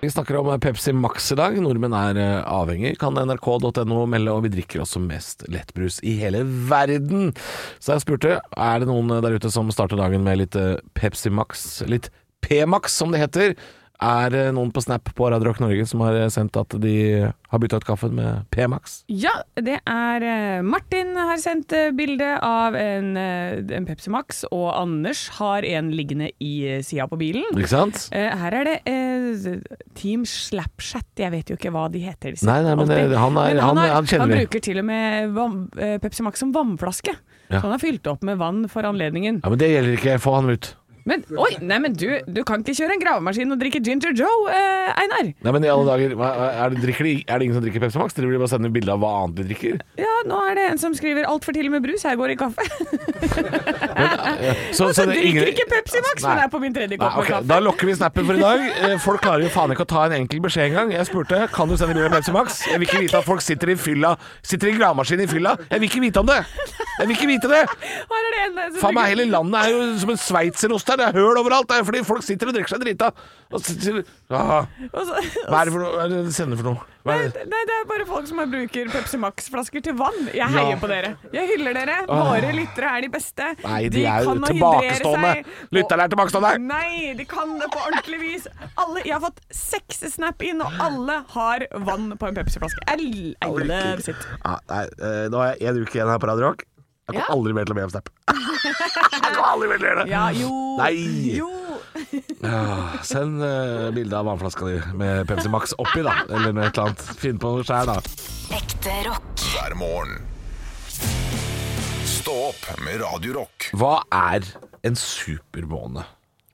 Speaker 4: Vi snakker om eh, Pepsi Max i dag. Nordmenn er eh, avhengig, kan nrk.no melde, og vi drikker også mest lettbrus i hele verden. Så jeg spurte, er det noen eh, der ute som starter dagen med litt eh, Pepsi Max, litt P-Max som det heter? Er det noen på Snap på Radio Rock Norge som har eh, sendt at de har bytta ut kaffen med P-Max?
Speaker 3: Ja, det er eh, Martin har sendt eh, bilde av en, eh, en Pepsi Max, og Anders har en liggende i sida på bilen.
Speaker 4: Ikke sant?
Speaker 3: Eh, her er det eh, Team Slapchat, jeg vet jo ikke hva de heter. disse.
Speaker 4: Nei, nei, men
Speaker 3: Alltid.
Speaker 4: det- han er- han-
Speaker 3: har-
Speaker 4: han kjenner
Speaker 3: han
Speaker 4: vi.
Speaker 3: bruker til og med vann- eh, Pepsi Max som vannflaske.
Speaker 4: Ja.
Speaker 3: Så han har fylt opp med vann for anledningen.
Speaker 4: Ja, Men det gjelder ikke. Få han ut.
Speaker 3: Men oi, nei, men du, du kan ikke kjøre en gravemaskin og drikke Ginger Joe, eh, Einar.
Speaker 4: Nei, men i alle dager, hva- hva- er det, drikker de, er det ingen som drikker Pepsi Max? Driver de bare og sender bilde av hva annet de drikker?
Speaker 3: Ja, nå er det en som skriver 'altfor tidlig med brus', her går det i kaffe.
Speaker 4: Så,
Speaker 3: Så
Speaker 4: det-
Speaker 3: Altså, drikker
Speaker 4: ingen-
Speaker 3: ikke Pepsi Max,
Speaker 4: Nei.
Speaker 3: men er på min tredje kopp
Speaker 4: Nei,
Speaker 3: med
Speaker 4: ok,
Speaker 3: kaffe.
Speaker 4: Da lokker vi snappen for i dag. Eh, Folk klarer jo faen ikke å ta en enkel beskjed engang. Jeg spurte kan du sende bilde av Pepsi Max. Jeg vil ikke vite at folk sitter i fylla Sitter i gravemaskin i fylla. Jeg vil ikke vite om det! Jeg vil ikke vite det!
Speaker 3: Her er det en eh, som
Speaker 4: Faen meg,
Speaker 3: drikker-
Speaker 4: hele landet er jo som en sveitserost her, det er høl overalt! Det er fordi folk sitter og drikker seg drita! Og s- s- ah,
Speaker 3: Og så- og
Speaker 4: hva er det for noe? Hva er det dere sender for noe? Hva
Speaker 3: Nei,
Speaker 4: er det?
Speaker 3: det- nei, det er bare folk som bruker Pepsi Max-flasker til vann. Jeg heier på dere. Jeg hyller dere. Våre lyttere er de beste.
Speaker 4: Nei, de er jo
Speaker 3: kan å hydrere
Speaker 4: tilbakestående!
Speaker 3: seg.
Speaker 4: Lytterne er tilbakestående!
Speaker 3: Nei, de kan det på ordentlig vis. Alle, jeg har fått seks snap inn, og alle har vann på en Pepsi-flaske. Jeg eier sitt.
Speaker 4: Ja, nei, eh, nå har jeg én uke igjen her på Radio Rock. Jeg kommer
Speaker 3: Ja.
Speaker 4: aldri mer til å be om snap. jeg kommer aldri mer til å gjøre det!
Speaker 3: Ja, jo.
Speaker 4: Nei.
Speaker 3: Jo.
Speaker 4: Ja, Ah, send uh, bilde av vannflaska di med Pepsi Max oppi, da. Eller noe et eller annet. Finn på noe sjæl, da.
Speaker 7: Ekte rock.
Speaker 2: hver morgen. Stå opp med Radio Rock.
Speaker 4: Hva er en supermåne?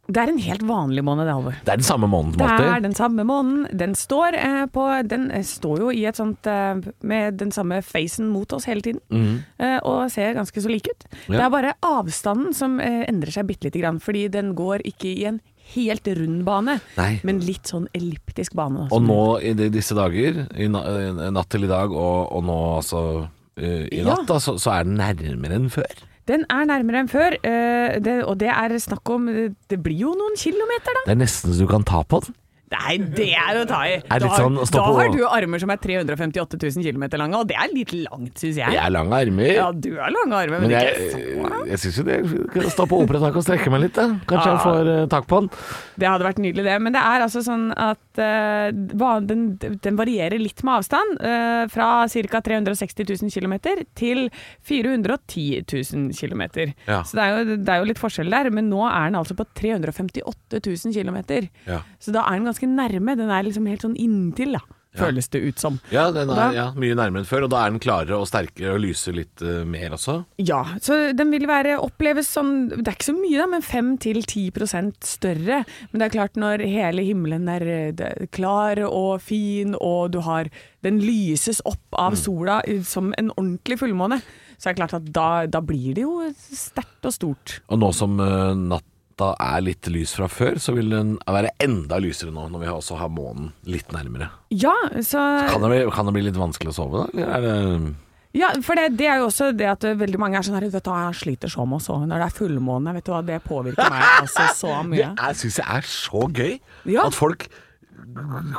Speaker 3: Det er en helt vanlig måned, det, Halvor.
Speaker 4: Det er den samme måneden
Speaker 3: Det
Speaker 4: som
Speaker 3: er
Speaker 4: alltid.
Speaker 3: den samme måneden. Den står, eh, på, den eh, står jo i et sånt eh, Med den samme facen mot oss hele tiden.
Speaker 4: Mhm.
Speaker 3: Eh, og ser ganske så lik ut. Det er bare avstanden som eh, endrer seg bitte lite grann. Fordi den går ikke i en helt rund bane,
Speaker 4: Nei.
Speaker 3: men litt sånn elliptisk bane. da,
Speaker 4: Og
Speaker 3: som-
Speaker 4: nå i de- disse dager, i na eh, natt til i dag og, og nå altså eh, i
Speaker 3: Ja.
Speaker 4: natt, da, så, så er den nærmere enn før.
Speaker 3: Den er nærmere enn før, eh, det, og det er snakk om eh, Det blir jo noen kilometer, da.
Speaker 4: Det er nesten så du kan ta på den.
Speaker 3: Nei, det er å ta i.
Speaker 4: Er
Speaker 3: Da,
Speaker 4: litt sånn å stå
Speaker 3: da
Speaker 4: på-
Speaker 3: har du armer som er 358 000 km lange, og det er litt langt, syns jeg.
Speaker 4: Jeg har lange armer.
Speaker 3: Ja, du har lange armer, men,
Speaker 4: Men jeg, eh,
Speaker 3: ikke så
Speaker 4: jeg syns jo det kan stå på operatak og strekke meg litt. Da. Kanskje
Speaker 3: Ah.
Speaker 4: jeg får eh, tak på den.
Speaker 3: Det hadde vært nydelig, det. Men det er altså sånn at eh, ba- den, den varierer litt med avstand. eh, fra ca. 360 000 km til 410 000 km.
Speaker 4: Ja.
Speaker 3: Så det er, jo, det er jo litt forskjell der, men nå er den altså på 358 000 km.
Speaker 4: Ja.
Speaker 3: Så da er den ganske nærme. Den er liksom helt sånn inntil, da. Føles det ut som.
Speaker 4: Ja, den
Speaker 3: Og da-
Speaker 4: er ja, mye nærmere enn før, og da er den klarere og sterkere og lyser litt eh, mer også.
Speaker 3: Ja, så den vil være, oppleves som Det er ikke så mye, da, men 5-10 større. Men det er klart, når hele himmelen er eh, det- klar og fin, og du har Den lyses opp av
Speaker 4: Mm.
Speaker 3: sola eh, som en ordentlig fullmåne, så er det klart at da, da blir det jo sterkt og stort.
Speaker 4: Og nå som eh, natta er litt lys fra før, så vil den være enda lysere nå, når vi også har månen litt nærmere.
Speaker 3: Ja, så
Speaker 4: Kan det bli, kan det bli litt vanskelig å sove, da? Eller er det
Speaker 3: Ja, for det, det er jo også det at eh, veldig mange er sånn her Vet du hva, jeg sliter så med å sove når det er fullmåne. Vet du hva, det påvirker meg altså så mye.
Speaker 4: Det er- syns jeg er så gøy
Speaker 3: Ja.
Speaker 4: at folk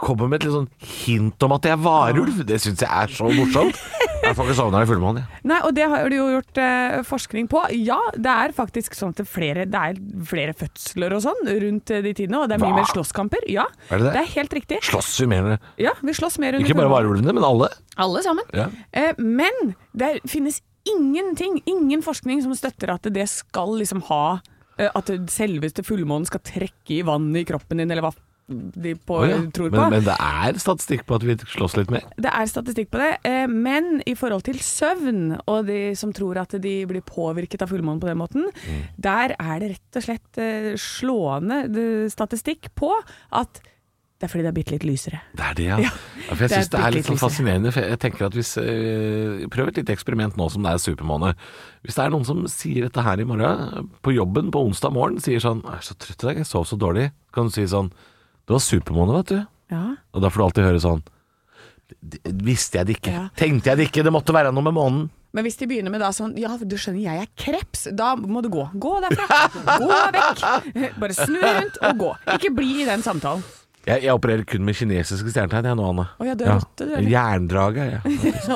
Speaker 4: kommer med et litt sånn hint om at jeg er varulv. Det syns jeg er så morsomt. Jeg får ikke sove når det er fullmåne. jeg.
Speaker 3: Nei, og det har du jo gjort eh, forskning på. Ja, det er faktisk sånn at det er flere, det er flere fødsler og sånn rundt eh, de tidene, og det er mye
Speaker 4: Hva?
Speaker 3: mer slåsskamper. Ja,
Speaker 4: Er det det?
Speaker 3: er helt riktig.
Speaker 4: Slåss vi mer enn
Speaker 3: Ja, vi slåss mer under
Speaker 4: Ikke bare
Speaker 3: fullmåne.
Speaker 4: varulvene, men alle.
Speaker 3: Alle sammen.
Speaker 4: Ja.
Speaker 3: Eh, men det finnes ingenting, ingen forskning som støtter at det skal liksom ha eh, At selveste fullmånen skal trekke i vannet i kroppen din, eller hva de på,
Speaker 4: Å ja.
Speaker 3: tror på.
Speaker 4: men, men det er statistikk på at vi slåss litt mer.
Speaker 3: Det er statistikk på det, eh, men i forhold til søvn, og de som tror at de blir påvirket av fullmånen på den måten, der er det rett og slett eh, slående eh, statistikk på at det er fordi det er bitte litt lysere.
Speaker 4: Det er det, ja.
Speaker 3: Ja.
Speaker 4: ja for
Speaker 3: Det
Speaker 4: jeg
Speaker 3: er
Speaker 4: syns det er litt
Speaker 3: bitte litt
Speaker 4: sånn
Speaker 3: lysere.
Speaker 4: fascinerende. For jeg tenker at hvis eh, Prøv et lite eksperiment nå som det er supermåne. Hvis det er noen som sier dette her i morgen, på jobben på onsdag morgen, sier sånn 'Jeg er så trøtt i dag, jeg sov så dårlig', kan du si sånn 'Du har supermåne, vet du'.
Speaker 3: Ja.
Speaker 4: Og da får du alltid høre sånn «Det- det Visste jeg det ikke.
Speaker 3: Ja.
Speaker 4: Tenkte jeg det ikke. Det måtte være noe med månen.
Speaker 3: Men hvis de begynner med da sånn Ja, du skjønner, jeg er kreps. Da må du gå. Gå derfra. Gå vekk. Bare snu deg rundt og gå. Ikke bli i den samtalen.
Speaker 4: Jeg, jeg opererer kun med kinesiske stjernetegn, jeg nå, Anne.
Speaker 3: Å ja, du er rotte, du, eller?
Speaker 4: Jerndraget, ja.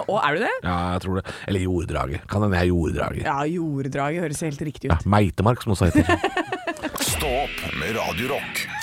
Speaker 3: Å, er du det?
Speaker 4: ja. Jeg tror det. Eller jorddraget. Kan hende jeg er jorddraget.
Speaker 3: Ja, jorddraget høres helt riktig
Speaker 4: Ja,
Speaker 3: ut.
Speaker 4: Meitemark, som også heter.
Speaker 2: Stå opp med Radio Rock.